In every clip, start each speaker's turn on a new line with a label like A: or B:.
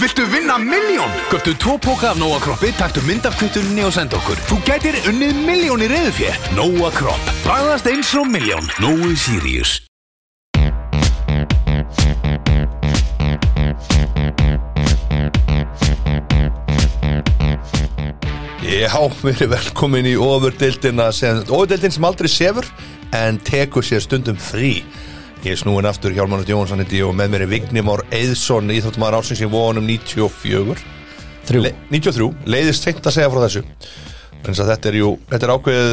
A: Viltu vinna miljón? Köptu tvo póka af Nóa Kroppi, taktu mynd af kvittunni og senda okkur. Þú gætir unnið miljón í reyðufjö. Nóa Kropp. Bræðast eins og miljón. Nói Sirius.
B: Já, mér er velkomin í ofurdeildina sem, ofurdeildin sem aldrei sefur en tekur sér stundum frí Ég er snúin aftur Hjálmanut Jónsson heiti ég og með mér er Vignimár Eðsson íþjóttumar ársins í vonum 94
C: Þrjú
B: Le 93, leiðist seint að segja frá þessu Þannig að þetta er jú, þetta er ákveð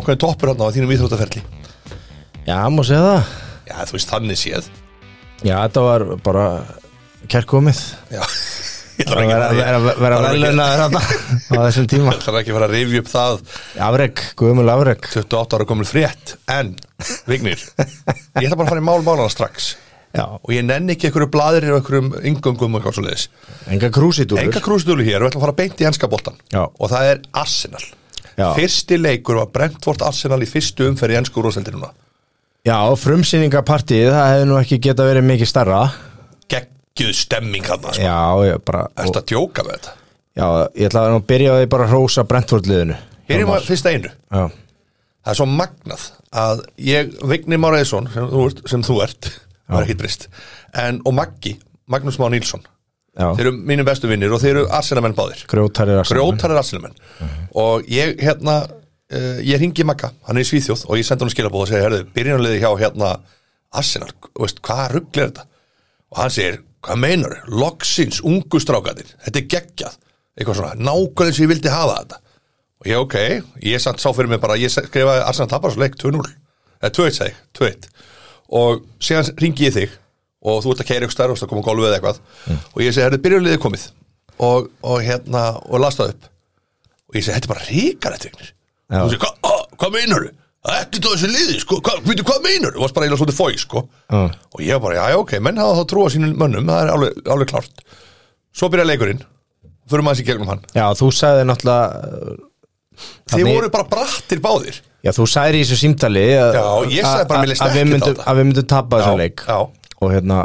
B: ákveðin toppur hann á þínum íþróttaferli
C: Já, má segja það
B: Já, þú veist þannig séð
C: Já, þetta var bara kærkomið
B: Já, ég ætla
C: Að
B: ekki
C: vera,
B: að
C: vera, vera
B: Það er ekki-
C: velunnaður þarna á þessum tíma
B: Það er ekki að fara að rifja upp það
C: Afreg, guðmul afreg
B: 28 ára komul frétt En, Vignir, ég ætla bara að fara í mál málana strax
C: Já,
B: og ég nenni ekki einhverju blaðir og einhverjum yngöngum og eitthvað svo leiðis
C: enga krúsitúrur
B: enga krúsdúlu hér og við ætlum að fara beint í enska boltan
C: Já.
B: og það er Arsenal
C: Já.
B: fyrsti leikur var Brentford Arsenal í fyrstu umferð í ennsku úrvarsdeildinuna
C: Já, frumsýningapartíð, það hefði nú ekki geta verið mikið starra
B: geggjuð stemming hann sko.
C: Já, ég bara og,
B: Ertu að djóka með þetta
C: Já, ég ætlaði nú að byrja á því bara að hrósa Brentford-liðinu
B: hér er maður fyrst einu
C: Já,
B: það er svo magnað að ég Vigni Máraðsson sem, þú ert- sem þú ert það er ekki brist en, og Maggi Magnús Már Nílsson þeir
C: já,
B: eru mínum bestu vinnir og þeir eru Arsenal menn báðir
C: grjótarir að
B: grjótar er arsenalmenn og ég hérna uh, ég ringi Magga, hann er í Svíþjóð og ég sendi hann skilabóð og segi, herðu, byrjunarliði hjá hérna Arsenal, og veist, hvað ruggl er þetta og hann segir, hvað meinar loksins ungu strákatinn, þetta er geggjað eitthvað svona, nákvæmlega sem ég vildi hafa þetta og ég, ok, ég samt sá fyrir mig bara, ég skrifaði Arsenal tapar svo leik 2-0, eða 2-1 segi, ég, 2-1 og síðan ringi ég þig og þú ert að keira ykkur stær og þú ert að koma á golfið eða eitthvað
C: Mm.
B: og ég segi, herðu, byrjunarliði komið og, og hérna, og las það upp og ég segi, þetta er bara ríkar þetta vignir og
C: Já.
B: þú segi, hva, á, hvað meinar þú? ekkert á þessu liði, sko, hva, veitu, hvað meinar þú? og varst bara eiginlega svolítið fói, sko
C: Já.
B: og ég var bara, já, já, ok, menn hafa þá trúa sínum mönnum það er alveg, alveg klárt svo byrja leikurinn, fyrir maður sér gegnum hann
C: Já, þú sagði náttúrulega
B: þið
C: Þannig-
B: voru bara brattir báðir
C: Já, þú sagði í þessu símtali að-
B: Já, ég sagði bara,
C: að-
B: mér leist
C: að við
B: ekkert á
C: myndum-
B: þetta.
C: Að við myndum tappa þessu
B: Já,
C: leik
B: já.
C: Og hérna,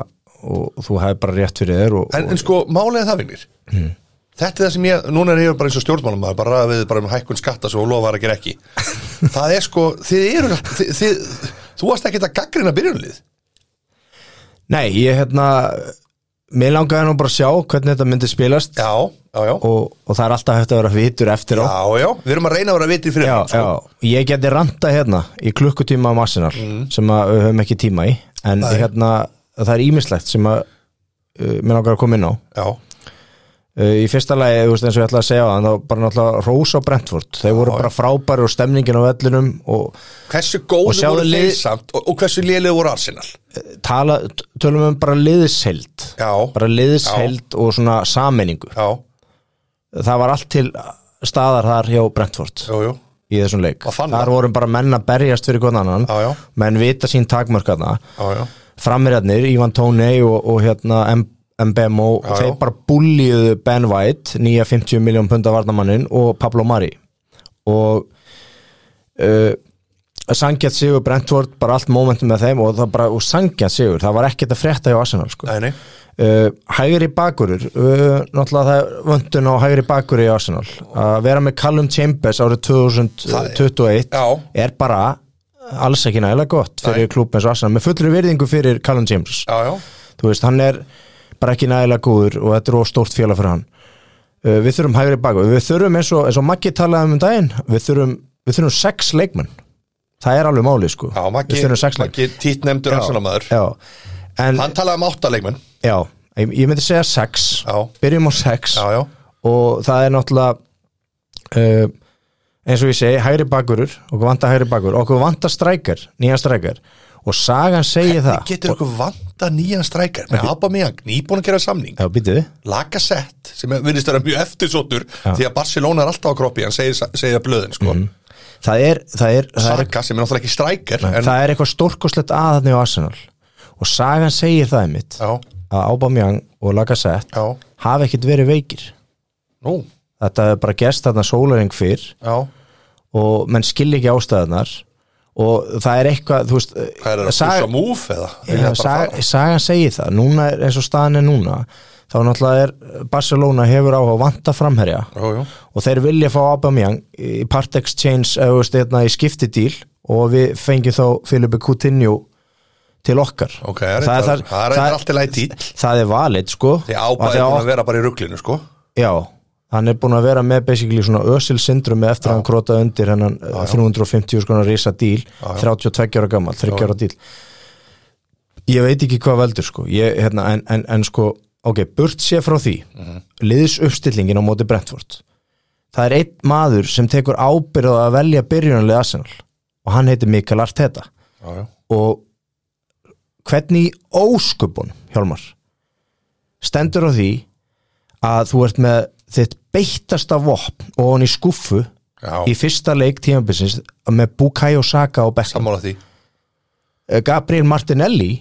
C: og þú hefði bara rétt fyrir þér og,
B: en, en sko, málega það vignir
C: Hmm.
B: Þetta er það sem ég, núna er ég bara eins og stjórnmálum maður bara ræða við bara um hækkun skatta svo og lofar að gera ekki Það er sko, þið eru þið, þið, þú varst ekki að gaggrina byrjunlið
C: Nei, ég hérna Mér langaði nú bara að sjá hvernig þetta myndi spilast
B: Já, já, já
C: og, og það er alltaf hægt að vera vitur eftir á
B: Já, já, við erum að reyna að vera vitið fyrir
C: já,
B: hann, sko.
C: já. Ég geti ranta hérna í klukkutíma um Arsenal sem að við höfum ekki tíma í en
B: Mhm. Nei.
C: hérna, það er ímislegt sem að uh, mér langar að koma inn á
B: já.
C: uh, Í fyrsta lagi, þú veist eins og ég ætla að segja á þann þá bara náttúrulega Rós og Brentford þeir voru
B: já.
C: bara frábæri og stemningin á vellinum og
B: Hversu
C: Og
B: góðu
C: sjáðu
B: voru lið...
C: lið-
B: þeir samt og, og hversu liðlið voru Arsenal
C: tala, t- tölum um bara liðisheld
B: Já,
C: bara liðisheld og svona sammenningu
B: já,
C: það var allt til staðar þar hjá Brentford
B: jú, jú
C: í þessum leik
B: Og fann
C: þar
B: það.
C: vorum bara menn að berjast fyrir hvern annan
B: Já, já.
C: menn vita sín takmörkarna
B: Já, já,
C: framirjarnir, Ivan Tónei og, og hérna M- Mbemo
B: Já, já.
C: þeir bara búljuðu Ben White nýja 50 miljón punda varnamannin og Pablo Mari og uh, sangjart sigur Brentford bara allt momentum með þeim og það bara og sangjart sigur, það var ekkert að frétta hjá Arsenal sko.
B: nei, nei
C: uh, hægri bakurur uh, náttúrulega það er vöndun á hægri bakur í Arsenal að vera með Callum Chambers árið 2021
B: Já.
C: er bara alls ekki nægilega gott fyrir
B: Nei.
C: klúb eins og Arsenal með fullri virðingu fyrir Callum Chambers
B: Já, já,
C: þú veist, hann er bara ekki nægilega góður og þetta er óstórt félag fyrir hann uh, við þurfum hægri bakur við þurfum eins og, eins og Maggi talaði um um daginn við þurfum, við þurfum sex leikmenn það er alveg málið sko
B: já, Maggi,
C: við þurfum sex leikmenn
B: Maggi títt nefndur Arsenal maður
C: Já. en
B: Hann talaði um áttaleikmenn
C: Já, ég, ég myndi segja 6
B: Já.
C: Byrjum á 6
B: Já, já,
C: Og það er náttúrulega uh, eins og ég segi, hægri bakurur okkur vantar hægri bakur, okkur vantar strækar nýjan strækar og sagan segir það
B: getur okkur vanda nýjan strækar með Abba Mejang, nýbúin að gera samning
C: Já, býtið þið
B: Lagasett, sem er- virðist vera mjög eftirsóttur
C: Já.
B: því að Barcelona er alltaf á kroppi hann segir, segir blöðin, sko
C: Það er, það er, það er,
B: Saka, sem er náttúrulega ekki strækar en,
C: það er eitthvað stórkoslegt að þarna á Arsenal og sagan segir það einmitt
B: Já,
C: að Ábamjang og Lagasett
B: já,
C: hafa ekkit verið veikir
B: nú,
C: Þetta er bara gest þarna sólaring fyrr
B: já
C: og menn skilja ekki ástæðunar og það er eitthvað, þú veist
B: Hvað er það,
C: saga-
B: push a move eða? Vilja
C: Já,
B: bara
C: saga,
B: fara?
C: sagan segir það, núna er eins og staðan er núna þá náttúrulega er eh, Barcelona hefur á að vanta framherja
B: Jú, jú.
C: og þeir vilja fá Aubameyang í part exchange eða þú veist, hérna, í skiptidíl og við fengjum þá Filipe Coutinho til okkar
B: Ok, það er
C: það,
B: reyndar- það
C: er-
B: er
C: það,
B: reyndar allt í læti
C: það er valið sko
B: Því
C: Af
B: ábæði
C: því
B: búin
C: að
B: að vera bara í rugglinu sko
C: Já, hann er búin að vera með basically svona ösil syndrumi eftir að hann krotaði undir hennan já, 350 skona risa díl 32 ára gammal, 30 ára díl Ég veit ekki hvað veldur sko ég, hérna, en, en, en sko ok, burt sé frá því liðs uppstillingin á móti Brentford það er einn maður sem tekur ábyrð á að velja byrjunarlega Arsenal og hann heitir Mikael Arteta
B: Já, já
C: og hvernig í ósköpun Hjálmar stendur á því að þú ert með þitt beittasta vopn og hann í skuffu
B: Já,
C: í fyrsta leik tímabilsins með Bukayo Saka og Beckham
B: sammála því
C: Eh, Gabriel Martinelli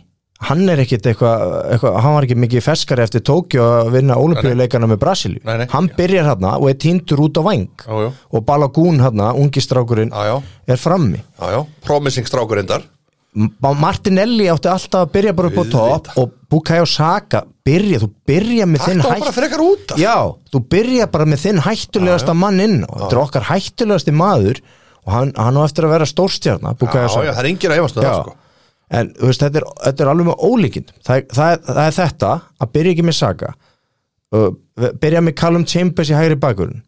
C: hann er ekkit eitthvað eitthva, hann var ekki mikið ferskari eftir Tókjó að vinna olimpíuleikana
B: Nei,
C: með
B: nei.
C: Brasilíu hann byrjar hann og er týndur út á væng
B: Já, já,
C: og Balagún hann, ungi strákurinn
B: já, já,
C: er frammi
B: já, já. Promising strákur reyndar
C: Ma- Martinelli átti alltaf að byrja bara upp á topp
B: Auðvitað.
C: og Bukayo Saka byrja, þú byrja með þinn
B: Þetta var bara
C: hætt
B: frekar út af
C: Já, þú byrja bara með þinn hættulegasta mann inn og þetta er okkar hættulegasti maður og hann, hann á eftir að vera stórstjarna
B: já,
C: Bukayo
B: já,
C: Saka
B: það er engin að efast
C: um
B: með það sko
C: En þú veist, þetta, er, þetta er alveg með ólíkind það, það, er- það er þetta að byrja ekki með Saka uh, byrja með Callum Chambers í hægri bakurinn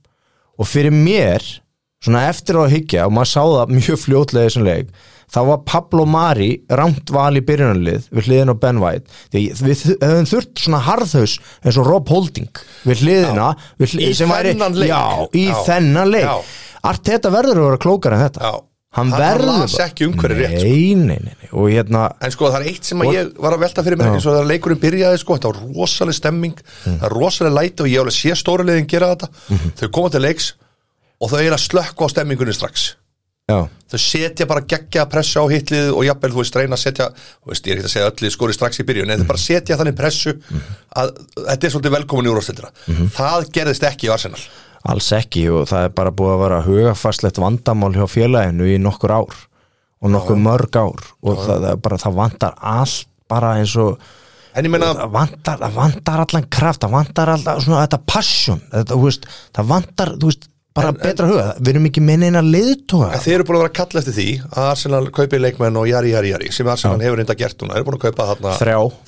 C: og fyrir mér svona eftir á að hyggja og maður sá það mjög fljótlega í þessum leik þá var Pablo Mari ramt val í byrjunarlið við hliðin á Ben White því við þ- hefðum þurft svona harðhaus eins og Rob Holding við hliðina við hli,
B: Í
C: sem væri-
B: þennan leik.
C: já, í
B: Já.
C: þennan leik
B: Já.
C: Arteta verður að vera klókar en þetta
B: Já.
C: hann
B: Hann- hann
C: verður
B: las ekki umhverfið rétt, sko.
C: nei, nei, nei, nei. og hérna
B: En sko það er eitt sem að ég var að velta fyrir mér eins og þegar leikurinn byrjaði sko, þetta var rosaleg stemming það var rosaleg læti og ég alveg sé stórulegin gera þetta, þau koma til leiks og þau er að slökka á stemmingunni strax
C: já,
B: þau setja bara geggja pressu á hitlið og jafnvel þú veist reyna að setja þú veist, ég er ekki að segja öllu skori strax í byrjun en þau bara setja þannig pressu að þetta er svolítið velkomin í úrvastildina það gerðist ekki í Arsenal
C: Alls ekki og það er bara búið að vera hugafarslegt vandamál hjá félaginu í nokkur ár og nokkur mörg ár og það, það, er bara, það vantar allt bara eins og
B: en ég meina,
C: það vantar, það vantar allan kraft það vantar alltaf svona þetta passion þetta, þú veist, það vantar þú veist, bara betra huga, við erum ekki með neina
B: En
C: leiðtóga
B: þeir eru búin að vera að kalla eftir því að Arsenal kaupi leikmenn og jari, jari, jari sem Arsenal hefur reynda gert núna, þeir eru búin að kaupa þarna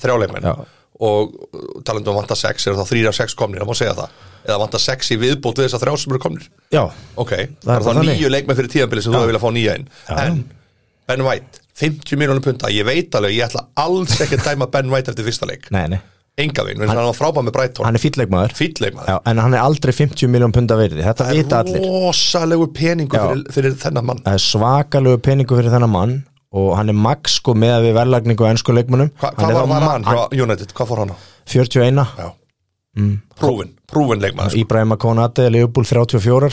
C: Þrjá.
B: leikmenn
C: Já.
B: og uh, talandi um vanta sex eru þá þrýra sex komnir, það má segja það eða vanta sex í viðbót við þess að þrjá sem eru komnir
C: Já,
B: ok, það
C: er
B: eru þá
C: þannig.
B: nýju leikmenn fyrir tíðanbili sem þú hefur viljað fá nýja inn en Ben White, 50 miljónum punta ég veit alveg, ég ætla alls ekki að dæma Ben White eftir fyrsta leik,
C: nei, nei,
B: enga vinn hann var frábæð með Brighton,
C: hann er fýtleikmaður
B: fýtleikmaður
C: Já, en hann er aldrei 50 miljón punda verði þetta vita
B: það
C: allir
B: er rosalegu peningu
C: Já.
B: fyrir, fyrir þennan mann
C: það er svakalegu peningu fyrir þennan mann og hann er max sko með að við verðlagningu á ennsku leikmunum
B: Hva, hvað var, var hann, hann, United, hvað fór hann á?
C: 41,
B: Já
C: Mm.
B: Prúfin, prúfin leikmaður sko.
C: Íbrahima Konate Leopold 34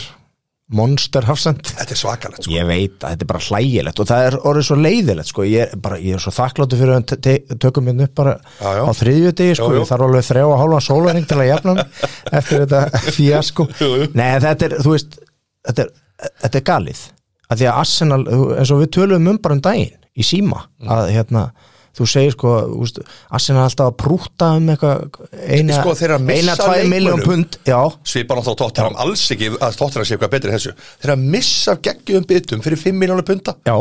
C: Monster Hafsend
B: Þetta er svakalegt sko.
C: ég veit að þetta er bara hlægilegt og það er orðið svo leiðilegt sko. ég, er bara, ég er svo þakkláttu fyrir að hann t- te- tökum hérna upp bara
B: Já, já.
C: á þriðju degi sko.
B: Jú, jú.
C: ég þarf alveg þrjá og hálfa sólaring til að jafna mig eftir þetta fíasko
B: Jú, jú.
C: Nei, þetta er, þú veist þetta er, þetta er galið að því að Arsenal, þú- eins og við töluðum um bara um daginn í síma
B: Mm.
C: að hérna Þú segir sko, þú veist, Arsenal er alltaf að prúta um eitthvað eina,
B: Sko, þeir eru að missa
C: eina, tvær
B: leikmönnum.
C: miljón pund, já,
B: Svipar náttúrulega tóttir alls ekki að tóttir sé eitthvað betri en þessu Þeir eru að missa af geggjum bitum fyrir 5 miljónu punta
C: já,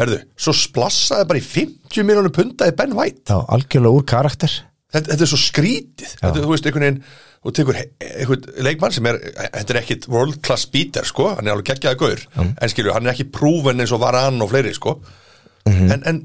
B: Herðu, svo splassaði bara í 50 miljónu punta í Ben White
C: Já, algjörlega úr karakter
B: Þetta, þetta er svo skrítið þetta, Þú veist, einhvern veginn Þú tekur he- einhvern leikmann sem er Þetta er ekkit world class beater, sko Hann er alveg geggjaði gaur En skilju, hann er ekki prúfin eins og var hann og fleiri, sko En, en,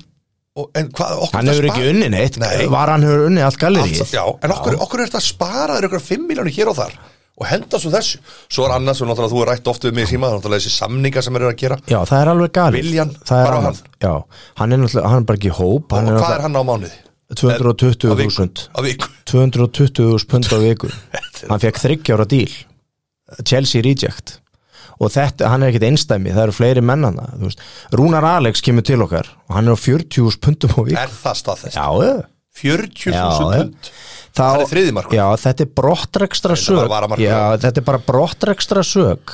B: og, en hvað okkur
C: Mhm. Hann
B: það
C: hefur
B: spar-
C: ekki unni neitt
B: Nei.
C: Var hann hefur unni allt gallerið
B: Allt, já, en okkur, okkur er þetta að spara þér ykkur 5 miljónu hér og þar og henda svo þessu svo er annars og náttúrulega þú er rætt oft við mig í síma náttúrulega þessi samninga sem eru að gera
C: Já, það er alveg galið
B: Viljan,
C: það er
B: bara
C: annað. Já, hann er náttúrulega, hann er bara ekki í hóp
B: og
C: Hann er
B: hvað er
C: náttúrulega
B: hann á mánuði?
C: 220.000
B: Á viku
C: 220.000 pund á viku Hann fekk 30 ára díl Chelsea reject Og þetta, hann er ekkit einstæmi, það eru fleiri mennana veist, Rúnar Alex kemur til okkar og hann er á 40.000 pundum á viku
B: er það staðfest?
C: Já, já. Já,
B: 40.000
C: já.
B: pund
C: það
B: er þriðji markvörður.
C: Já, þetta er brottrekstra
B: Þetta var
C: sög
B: varamarkvörður.
C: Já, þetta er bara brottrekstra sög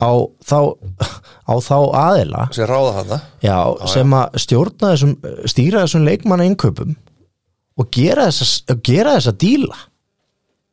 C: á þá á þá aðila
B: sem ráða hann það
C: já, sem að stjórna þessum stýra þessum leikmanna innkaupum og gera þessa, gera þessa díla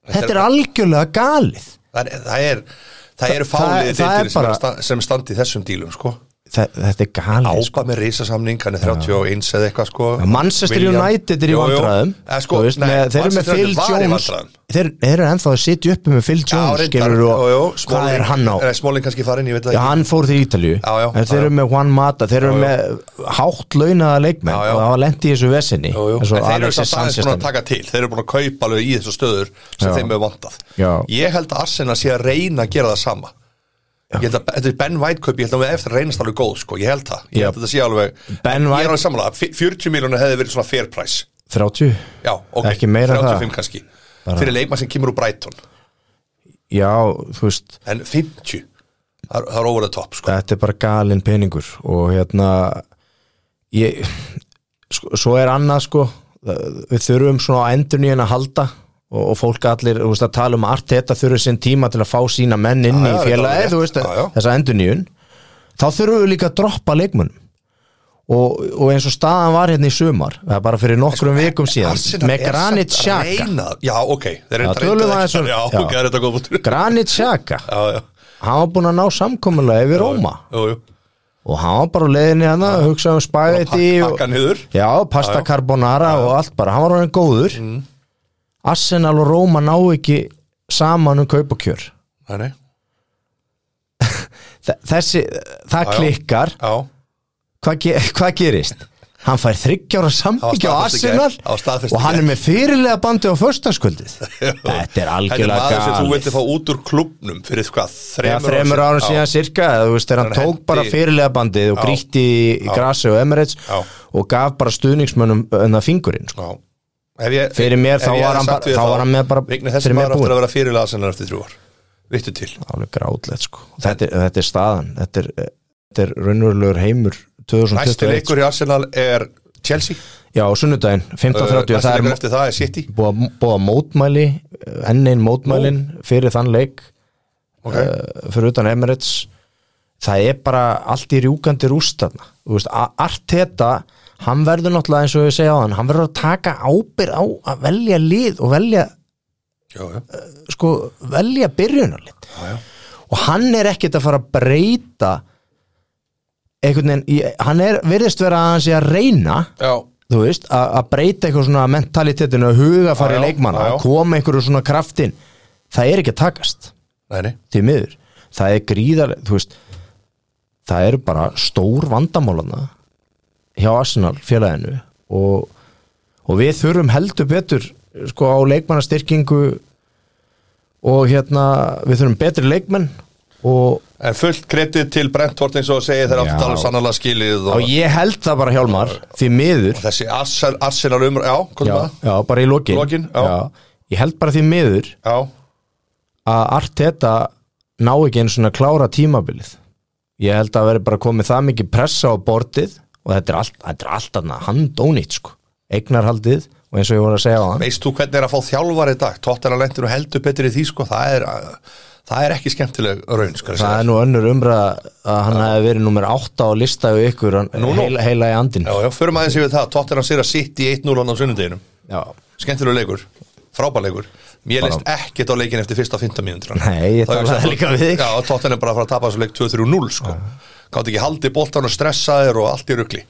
C: Þetta er algjörlega galið
B: það er, það er það eru
C: Þa- það-
B: fálið
C: það er
B: deildir sem,
C: bara-
B: bara... stand, sem standi í þessum dílum sko.
C: Þa- Þetta er galið sko.
B: ápa með risasamning, hann er 31 eða eitthvað sko.
C: Manchester
B: William.
C: United er í
B: Jú, jú.
C: vandræðum
B: Eh, sko,
C: Þú veist,
B: nei,
C: með, Þeir eru með
B: Manchester
C: Phil
B: United var í
C: Jones
B: vandræðum.
C: Þeir þeir eru ennþá að sitja uppi með Phil Jones
B: Já, reyndar,
C: skilur þú,
B: jú, jú,
C: Hvað
B: Smalling-
C: er hann á?
B: Nei, Smalling kannski farin, ég veit það
C: Já, hann fór til Ítalju
B: Já, já,
C: En Þeir
B: já,
C: eru
B: já.
C: með Juan Mata Þeir
B: Já,
C: eru
B: já.
C: með hátt launaða leikmenn
B: Já, já.
C: og það var lent í þessu vesenni
B: Jú, jú.
C: eins og
B: en þeir eru
C: Alexis
B: samt aðeins
C: Sanchez
B: búin að taka til þeir eru búin að kaupa alveg í þessu stöður sem
C: Já.
B: þeim hefur vantað
C: Já.
B: ég held að Arsenal sé að reyna að gera það sama ég held að þetta er Ben White kaup ég held að við eftir reynast alveg góð sko, ég held það ég held
C: Já.
B: að þetta sé alveg
C: Ben
B: en ég
C: White-
B: er alveg samanlega, 40 miljónu hefði verið svona fair price
C: 30
B: já, ok,
C: Ekki meira en það.
B: 35 kannski fyrir leikmann sem kemur úr Brighton
C: Já, þú veist
B: en 50, það er- það er over the top sko.
C: þetta er bara galinn peningur og hérna ég, sko, svo er annað sko það- við þurfum svona á endurnýjun að halda og, og fólk allir, þú veist að tala um allt þetta þurfum sinn tíma til að fá sína menn
B: Já,
C: inn
B: já,
C: í
B: þetta er alveg
C: félagi,
B: rétt.
C: þú veist,
B: Já, já.
C: þessa endurnýjun þá þurfum við líka að droppa leikmunum og, og eins og staðan var hérna í sumar, það er bara fyrir nokkrum vikum síðan,
B: Sko, Arsenal
C: með
B: er
C: Granit
B: samt að
C: Xhaka
B: reyna- já, ok, þeir eru
C: Já,
B: þetta
C: tölum
B: reyndar
C: aðeins um-
B: ekki- já,
C: já.
B: ok, það er þetta góð bútur
C: Granit Xhaka,
B: já, já,
C: hann var búinn að ná samkomulega yfir Róma
B: jú, jú
C: og hann var bara á leiðinni hann að hugsa um spagetti
B: Pak-
C: og,
B: pakka niður
C: Já, pasta carbonara og allt bara, hann var hann góður
B: Mm.
C: Arsenal og Róma ná ekki saman um kaup og kjör
B: Nei, nei.
C: Þe- Þessi, það
B: já.
C: klikkar
B: Já,
C: Hvað ge hvað gerist? Hann fær þryggjára sambyggja á
B: Það var staðfest í gær.
C: Arsenal
B: Það var staðfest í
C: og hann er
B: gær.
C: með fyrirlega bandi á förstaskuldið Þetta er
B: þetta er
C: algjörlega
B: maður sem þú
C: galið
B: vildi fá út úr klubnum fyrir hvað,
C: Já,
B: þremur,
C: þremur árum
B: Já,
C: síðan cirka eða, þú veist, þegar hann
B: Hann
C: tók
B: hendi-
C: bara fyrirlega bandið og
B: Já.
C: grýtti í grasi og Emirates
B: Já.
C: og gaf bara stuðningsmönnum enna fingurinn sko.
B: Já. Ef ég,
C: Fyrir mér
B: ef
C: þá
B: ég
C: var
B: hefði
C: hann
B: sagt
C: bara-
B: við
C: þá
B: þá
C: var hann með bara-
B: Vigni
C: fyrir
B: þessi
C: mér
B: maður áttur
C: búinn.
B: að vera fyrirlega aðsennar eftir þrjú ár Vittu til
C: alveg grátlegt sko þetta er, þetta er staðan, þetta er, þetta er raunverulegur heimur
B: Næsti
C: 2021
B: leikur í Arsenal er Chelsea
C: já, á sunnudaginn,
B: Uh, Næsti
C: 15.30 það
B: leikur
C: er
B: eftir það er City
C: búið að- búið að mótmæli eh, enn einn mótmælin fyrir þann leik
B: okay.
C: eh, fyrir utan Emirates það er bara allt í rjúkandi rústarna þú veist, A- Arteta hann verður náttúrulega eins og ég segja á hann hann verður að taka ábyrð á að velja lið og velja,
B: já, já.
C: sko, velja byrjunarlið
B: Já, já.
C: og hann er ekkert að fara að breyta einhvern veginn í- hann er, virðist vera að hann sé að reyna
B: já,
C: þú veist, a- að breyta eitthvað svona mentalitetinu að huga
B: Já,
C: farið
B: já,
C: leikmanna,
B: já, já.
C: að koma einhverju svona kraftin það er ekki að takast
B: nei, nei
C: því miður, það er gríðarlega þú veist, það eru bara stór vandamálana hjá Arsenal félaginu og, og við þurfum heldur betur sko á leikmannastyrkingu og hérna við þurfum betri leikmenn og,
B: En fullt kredið til Brentford eins og að segja þeir
C: Já.
B: áttu alveg sannarlega skilið og,
C: og ég held það bara Hjálmar því miður
B: og þessi Arsenal, Arsenal umr Já, hvað
C: já,
B: er það?
C: já, bara í lokin,
B: Lokin, já.
C: ég held bara því miður
B: Já,
C: að Arteta ná ekki einu svona klára tímabilið ég held að veri bara komið það mikið pressa á bortið og þetta er allt, þetta er allt annað handónýtt sko, eignarhaldið og eins og ég voru að segja á hann
B: Veist þú hvernig er að fá þjálfari í dag? Tottenham lendir og heldur betur í því sko, það er, það er ekki skemmtileg raun, skal ég
C: það
B: segja.
C: er nú önnur umræða að hann hefði verið nummer 8 á lista við ykkur hann,
B: Nú, nú.
C: Heila, heila í andin
B: Já, já, förum aðeins yfir það, Tottenham sér að sitt í 1-0 hann á sunnudeginum. Skemmtileg leikur, frábær leikur. Mér leist ekkert á leikin eftir fyrsta 15 mínútur.
C: Nei, ég talaði líka við þig.
B: Já, Tottenham bara að fara að tapa þessu leik 2-3-0 sko. Gátt ekki haldi boltan og stressaðir og allt í rugli.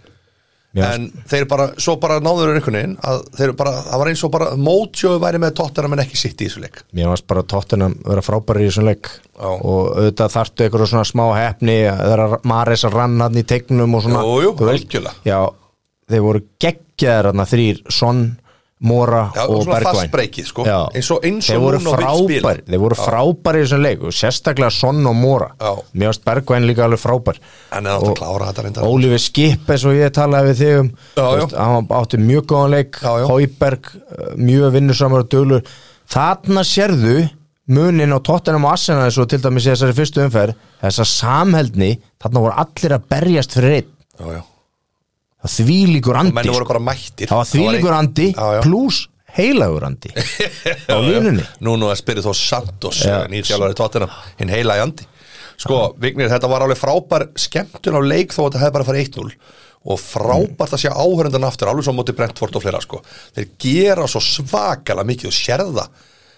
C: Já,
B: En þeir bara, svo bara náður einhvern veginn að þeir bara, það var eins og bara mótjóðu væri með Tottenham en ekki sitt í þessu leik.
C: Mér varst bara tóttunum vera frábæri í þessum leik
B: Já.
C: og auðvitað þarftu eitthvað svona smá hefni þegar Maris rann hann í teiknum og svona
B: Jú, jú,
C: þú veist.
B: algjörlega.
C: Já, þeir voru geggjaðir hann þrýr, Son, Mora
B: Já,
C: og
B: svona
C: Bergvæn
B: fastbreakið, sko.
C: Já.
B: Eins og- eins og
C: Þeir voru
B: núna vill spila.
C: frábæri, þeir voru frábæri í þessum leik og sérstaklega Son og Mora
B: Já.
C: Mér varst Bergvæn líka alveg frábær
B: Hann er alltaf að klára þetta reyndar.
C: Ólífi Skip eins og ég talaði við þig um
B: Já,
C: Þú
B: já.
C: veist, hann átti mjög góðan leik
B: Já, já.
C: Hauberg, eh, mjög vinnusamur og dölur þarna sérðu munin á Tottenham og Arsenal eins og til dæmis í þessari fyrstu umferð þessa samheldni, þarna voru allir að berjast fyrir einn,
B: Já, já.
C: það þvílíkur andi
B: menn voru
C: sko.
B: bara mættir
C: það var þvílíkur andi
B: Já, já.
C: pluss heilagur andi á línunni
B: nú nú að spyrir þó Santos eh,
C: Já.
B: nýrþjálfari tóttina, hinn heila í andi sko, Vignir, þetta var alveg frábær skemmtun á leik þó að þetta hefði bara farið 1-0 og frábært að sé áhörundan aftur alveg svo á móti Brentford og fleira sko þeir gera svo svakalega mikið og sérða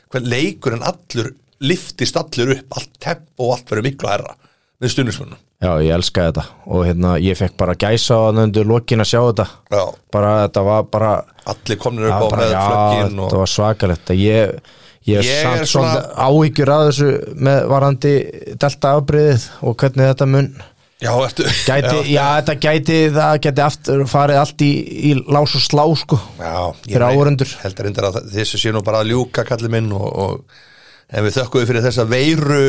B: hvern leikur en allur liftist allur upp, allt tepp og allt verður miklu herra með stundismunum
C: Já, ég elska þetta og hérna, ég fekk bara gæsa á þannig undir lokin að sjá þetta
B: Já.
C: bara, þetta var bara,
B: allir komnir
C: já,
B: upp á
C: bara
B: með
C: já,
B: flöggin og
C: þetta var svakalegt að ég, ég,
B: Ég
C: er
B: er
C: samt
B: svona-
C: svona áhyggjur að þessu með varandi delta afbriðið og hvernig þetta mun
B: já, ertu
C: gæti, já,
B: já,
C: þetta gæti, það gæti aftur farið allt í, í lás og slá sko
B: já, ég
C: fyrir
B: meina,
C: áhörendur.
B: heldur reyndar að þessu sé nú bara að ljúka kallið minn og, og en við þökkum við fyrir þessa veiru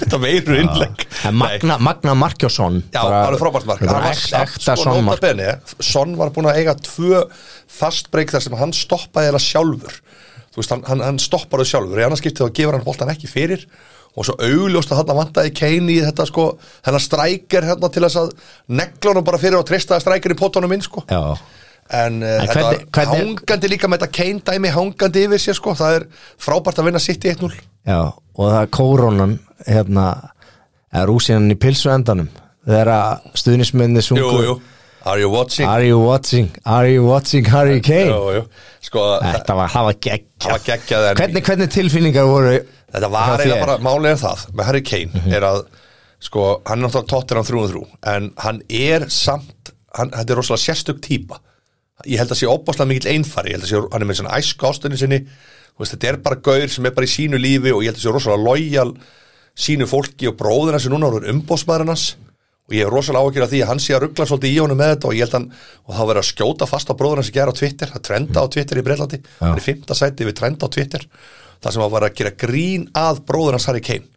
B: þetta veiru innlegg
C: En Magna, Magna Markjósson
B: Já, bara frábært mark
C: bara
B: Hann var
C: ekta,
B: samt,
C: ekta
B: sko,
C: svona
B: nota
C: mark
B: bene, Son var búin að eiga tvö fastbreik þar sem hann stoppaði eða sjálfur Þú veist, hann, hann, hann stoppar þau sjálfur Í annars skiptið þá gefur hann boltan ekki fyrir Og svo augljóst að þarna vantaði Kane í þetta sko Hennar strækir hérna til þess að Negla honum bara fyrir og treystaði strækir í potanum inn sko
C: Já,
B: En, uh,
C: En
B: þetta
C: hvernig-
B: var
C: hvernig-
B: hangandi líka með þetta Kane dæmi hangandi yfir sér sko Það er frábært að vinna sitt í 1-0
C: já, og það er kórónan hérna, er rúsinan í pilsuendanum þegar að stuðnismenni sungu
B: Are you watching?
C: Are you watching, are you watching Harry Kane?
B: Jú, jú. Sko,
C: Þetta var, það var geggjað
B: Það var geggjað, en-
C: Hvernig, hvernig tilfinningar voru
B: Þetta var
C: hjá
B: eiginlega
C: þér? Mhm.
B: bara málið er það með Harry Kane er að sko, hann er náttúrulega tóttir hann 303 en hann er samt hann, þetta er rosalega sérstök típa ég held að sé opaslega mikill einfari ég held að sé, hann er með svona æsku ástunni sinni Þú veist, þetta er bara gaur sem er bara í sínu lífi og ég held að sé rosalega lojal sínu fólki og bróðina sem núna er umbósmaðurinnans og ég er rosalega áhyggjur af því að hann sé að ruggla svolítið í honum með þetta og ég held hann og þá verið að skjóta fast á bróðurna sem gera á Twitter það trenda á Twitter í Breitlandi hann er í fymta sæti við trenda á Twitter það sem að var að gera grín að bróðurna Harry Kane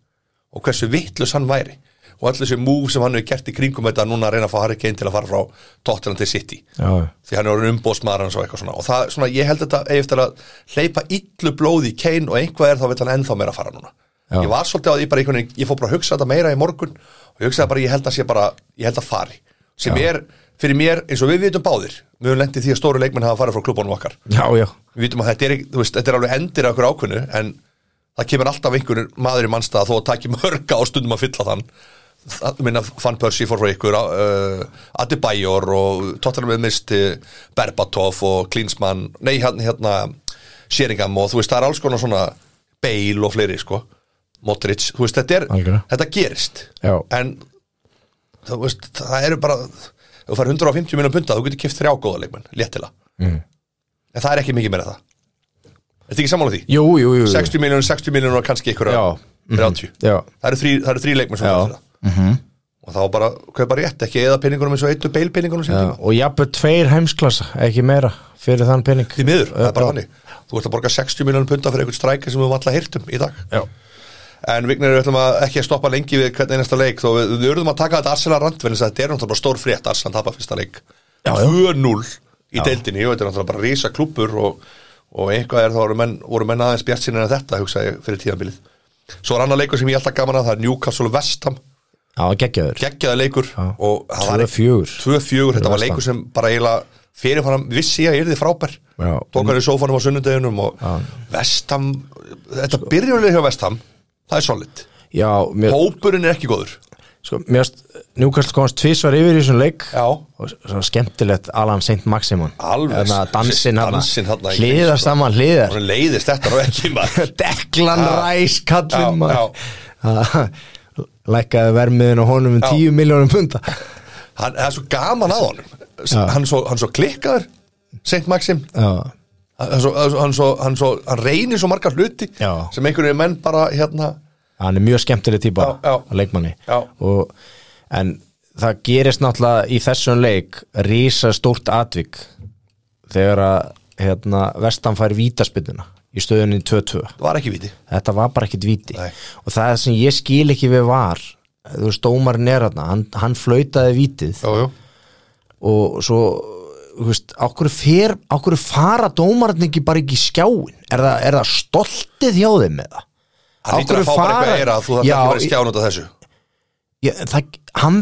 B: og hversu vittlus hann væri og allir þessi move sem hann hefur gert í kringum þetta núna að reyna að fá Harry Kane til að fara frá Tottenham til City
C: Já,
B: því hann er orðin umbóðsmaður hans og eitthvað svona og það, svona, ég held þetta eigi eftir að hleypa illu blóði í Kane og einhvað er þá vil hann ennþá meira fara núna
C: Já.
B: ég var svolítið á því bara einhvern veginn, ég fór bara að hugsa þetta meira í morgun og ég hugsaði bara, ég held að sé bara ég held að fari, sem er fyrir mér, eins og við vitum báðir við höfum lendið því að stóru leikmenn hafa farið frá klubunum okkar
C: já, já,
B: við vitum að þetta er, ekki- þú veist, þetta er alveg endir af okkur ákunnu, en það kemur alltaf einhverjum maður í mannstað þó að taki mörg á stundum að fylla þann Það- minna Van Persie fór frá ykkur uh, Adebayor og Tottenham við misti Berbatov og Klinsmann, nei hérna, hérna Sheringham og þú veist það er alls konar svona Bale og fleiri sko Modric, þú veist þetta er,
C: Algjörlega.
B: þetta gerist
C: Já.
B: en þú veist, það eru bara þú fær 150 minnum punta, þú getur kipt þrjá góða leikmenn, léttilega en það er ekki mikið meira það Þetta ekki sammála því?
C: jú, jú, jú, jú.
B: 60 miljónur, 60 miljónur og kannski ykkur
C: Já.
B: 30
C: Já.
B: Það eru þrý, það eru þrý leikmenn sem
C: Já. Mhm.
B: það mm -hmm. og þá bara, kaupa rétt, ekki eða peningunum eins og eittu beilpeningunum sem
C: Já,
B: tíma
C: Og jafnvel tveir heimsklassa, ekki meira fyrir þann pening
B: Því miður, það er bara
C: Já.
B: hannig Þú ert að borga 60 miljónum punta fyrir einhvern strækja sem við valla hirtum í dag
C: Já,
B: En Vignir, við ætlum að ekki að stoppa lengi við hvern einasta leik þó við, við urðum að taka þetta Arsenal rand vegna þess að þetta er náttúrulega bara stór frétt Arsenal tapa fyrsta leik 2-0 í deildinni og þetta er náttúrulega bara rísa klúppur og, og einhvað er þá voru menn, voru menn aðeins bjart sinni en þetta hugsaði ég fyrir tíðanbilið Svo er annar leikur sem ég er alltaf gaman að það er Newcastle Vestham
C: það var geggjaður
B: geggjaði leikur
C: Já.
B: og það var
C: 2-4.
B: 2-4, þetta var
C: Vestham.
B: leikur sem bara eiginlega fyrirfram vissi ég að yrði frábær
C: Já.
B: tókar í sófanum á sunnudeginum og Vestham, þetta byrjunlega hjá Vestham, það er solid
C: Já, mér,
B: Hópurinn er ekki góður
C: sko, mér varst Newcastle komast tvisvar yfir í þessum leik
B: Já.
C: og svo skemmtilegt Alan Saint Maximin
B: Alveg.
C: Þarna dansinn
B: Dansinn þarna í kring,
C: hliðar
B: sko.
C: saman hliðar
B: Hún leiðist þetta nú ekki maður
C: Deklan
B: Já.
C: Ræs
B: Já,
C: kallinn maður. Ha, lækkaði vermiðin og honum um 10 miljónum punta
B: Hann það er svo gaman að honum Hann er svo, hann er svo klikkaður Saint Maxim
C: Já,
B: Hann, er svo, hann, er svo- hann, er svo, hann, er svo, hann reynir svo margar hluti
C: Já.
B: Sem einhverju menn bara hérna
C: hann er mjög skemmtileg típa
B: Já, já.
C: að leikmanni
B: Já.
C: og, en það gerist náttúrulega í þessum leik rísa stórt atvik þegar að hérna, vestan fær vítaspinnina í stöðunni 2-2
B: Það var ekki viti
C: þetta var bara ekkit víti
B: Nei.
C: og það sem ég skil ekki við var þú veist, dómarinn er hérna hann, hann flautaði vítið
B: Jú, jú
C: og svo þú veist, á hverju, fer, á hverju fara dómarinn ekki bara ekki í skjáin er það, er það stoltið hjá þeim með það
B: Hann lítur að fá bara eitthvað eira að Þú þarf
C: Já,
B: ekki bara í skján út af þessu
C: Já, það, hann, hann,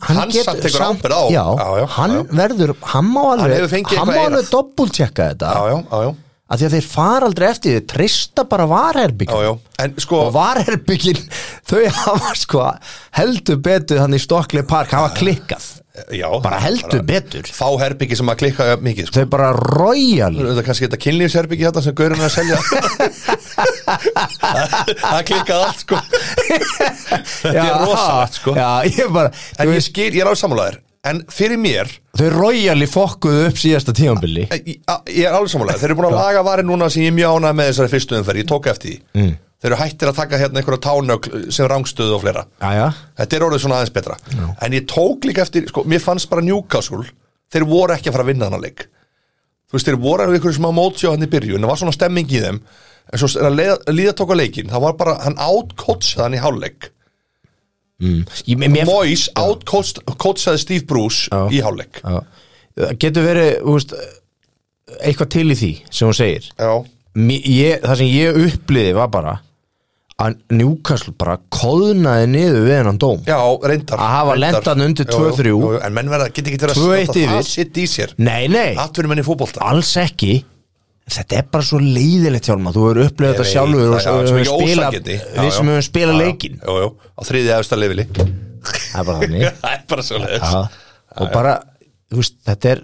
C: hann,
B: Hann
C: getur
B: samt tekur ábyrgð á.
C: já,
B: Já, já,
C: hann
B: já, já.
C: verður, hann má
B: Hann
C: alveg
B: hefur fengið
C: hann má
B: eitthvað
C: alveg
B: eyrað.
C: doppultjekka þetta
B: Já, já, já, já,
C: af því að þeir fara aldrei eftir því, þeir trista bara
B: já,
C: varherbyggin
B: já. En sko
C: og varherbyggin þau hafa sko heldur betur hann í Stokkli Park hafa klikkað
B: Já,
C: bara heldur betur
B: Fá herbyggi sem að klikka jafn mikið sko.
C: þau bara royal
B: Þetta er kannski þetta kynlífsherbyggi þetta sem gaurinn er að selja Það- Það klikkað allt sko Þetta er rosalegt sko
C: já, ég bara,
B: En
C: þú
B: ég
C: veist,
B: skil, ég er á sammálaðir En fyrir mér,
C: þau royali fokkuðu upp síðasta tímanbili
B: ég, ég- ég er alveg sammálaðir Þeir eru búin að laga varin núna sem ég mjög ánað með þessari fyrstu umferð Ég tók eftir því mm. Þeir eru hættir að taka hérna einhverja tánögl sem rangstöðu og fleira
C: já, já,
B: Þetta er orðið svona aðeins betra En ég tók líka eftir, sko, mér fannst bara Newcastle Þeir voru ekki að fara að vinna hana leik Þú veist, þeir voru alveg ykkur sem að mótsjá hann í byrjun Það var svona stemming í þeim En svo er að leiða, líða tók á leikin Það var bara, hann átkotsaði hann í hálfleik
C: Ég- mér,
B: Moyes átkotsaði Steve Bruce
C: Já.
B: í hálfleik
C: Já. Það getur verið þú veist, eitthvað til í því sem hún segir
B: Já,
C: Mér- ég, það sem ég uppliði var bara að Newcastle bara kóðnaði niður við hennan dóm
B: já, reyndar
C: Að hafa
B: reyndar.
C: lent hann undir
B: Jú, jú,
C: 2-3.
B: jú, jú, En menn verða, geti ekki verið að
C: 2-1
B: láta það
C: yfir.
B: sitt í sér
C: nei, nei,
B: Atvinnum enn í fótbolta
C: alls ekki þetta er bara svo leiðilegt hjálma þú hefur upplifað
B: Ég
C: þetta
B: veit
C: sjálfur
B: það,
C: og
B: já, svo
C: svo- við
B: mikið
C: höfum spilað-
B: ósanngirni. Já,
C: við
B: já.
C: sem höfum spilað
B: Já, já.
C: leikin
B: Jú, jú, á þriðið efsta lefili
C: það er bara þannig
B: Það er bara svo leiðis
C: Já, og bara, þú veist, þetta er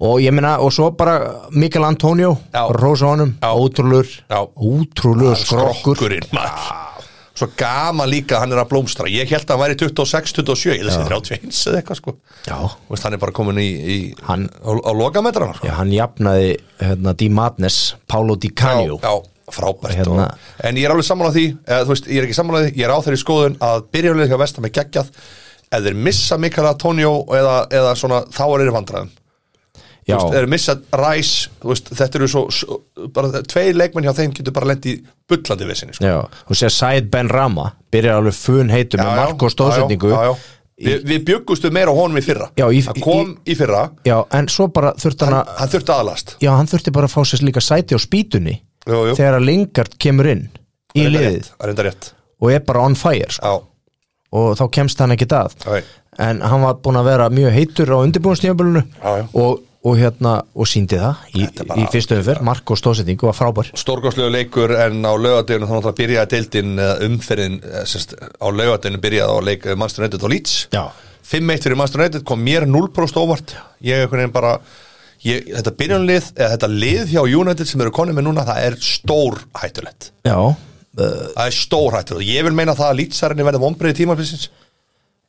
C: og ég meina, og svo bara Mikael Antonio,
B: Já.
C: Rósa honum
B: Já.
C: ótrúlur,
B: Já.
C: ótrúlur skrokkur
B: skrokkurinn maður. svo gama líka að hann er að blómstra ég held að hann væri 26, 27 ég þessi 31 eða eitthvað sko
C: já,
B: Þú veist, hann er bara komin í, í
C: Hann-
B: á, á lokametrana sko.
C: já, hann jafnaði hérna, Di Madness, Paolo Di Canio
B: já, frábært
C: Hérna.
B: og, en ég er alveg sammála því eða, þú veist, ég er ekki sammála því, ég er á þeirri skoðun að byrjulegið hjá vestam er geggjað ef þeir missa Mikael Antonio eða, eða svona, þá er þeir í vandræðum
C: já,
B: Þú veist, þeir missa Ræs veist, þetta eru svo, svo bara, tvei leikmenn hjá þeim getur bara lent í bullandi vissinni sko.
C: já, hún sé að Said Ben Rama byrjar alveg fun heitur með Marko stóðsetningu
B: já, já, já. Við, við bjöggustu meira á honum í fyrra
C: Já, í-
B: Hann kom í, fyrra,
C: en svo bara þurfti hann að
B: hann þurfti aðlast
C: já, hann þurfti bara að fá sér líka sæti á spýtunni
B: Jú, jú.
C: þegar að Lingard kemur inn í
B: Reyndar
C: liðið
B: rétt, Reyndar rétt
C: og er bara on fire sko.
B: Já,
C: og þá kemst hann ekki að
B: já,
C: en hann var búinn að vera mjög heitur á undirbúinstíðanbölinu
B: Já, já.
C: og, og hérna, og síndi það í,
B: Þetta er bara-
C: í fyrstu umferð, Marko stóðsetningu var frábær
B: Stórgóðslegu leikur en á laugadeginu þá náttúrulega byrjaði deildin eh, umferðin eh, sérst, á laugadeginu byrjaði á leik eh, Manchester United og Leeds
C: Já.
B: 5-1 fyrir Manchester United kom mér 0% óvart ég einhvern veginn bara ég, þetta byrjunlið, eða þetta lið hjá United sem eru konið með núna, það er stór hættulegt
C: já,
B: það er stór hættulegt, ég vil meina það að Leedsarinni verði vonbreiði tímafisins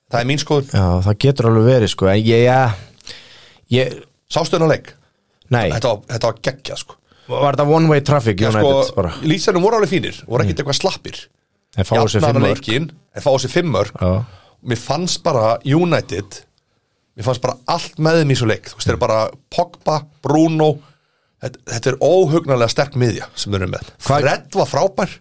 B: það er mín skoður,
C: já, það getur alveg verið sko, en ég, ég, ég
B: sástu hennar leik
C: nei,
B: þetta var, þetta var geggja sko,
C: var þetta one way traffic
B: Já,
C: United
B: sko
C: bara,
B: Leedsarinni voru alveg fínir, voru ekkert eitthvað slappir
C: en fá sér
B: jafnar
C: fimm
B: að
C: mörg
B: leikin en fá sér fimm mörg
C: Já.
B: mér fannst bara United mér fannst bara allt með þeim í svo leik þú veist þeir eru bara Pogba, Bruno þetta, þetta er óhugnarlega sterk miðja sem þeir eru með
C: Hvað-
B: Fred var frábær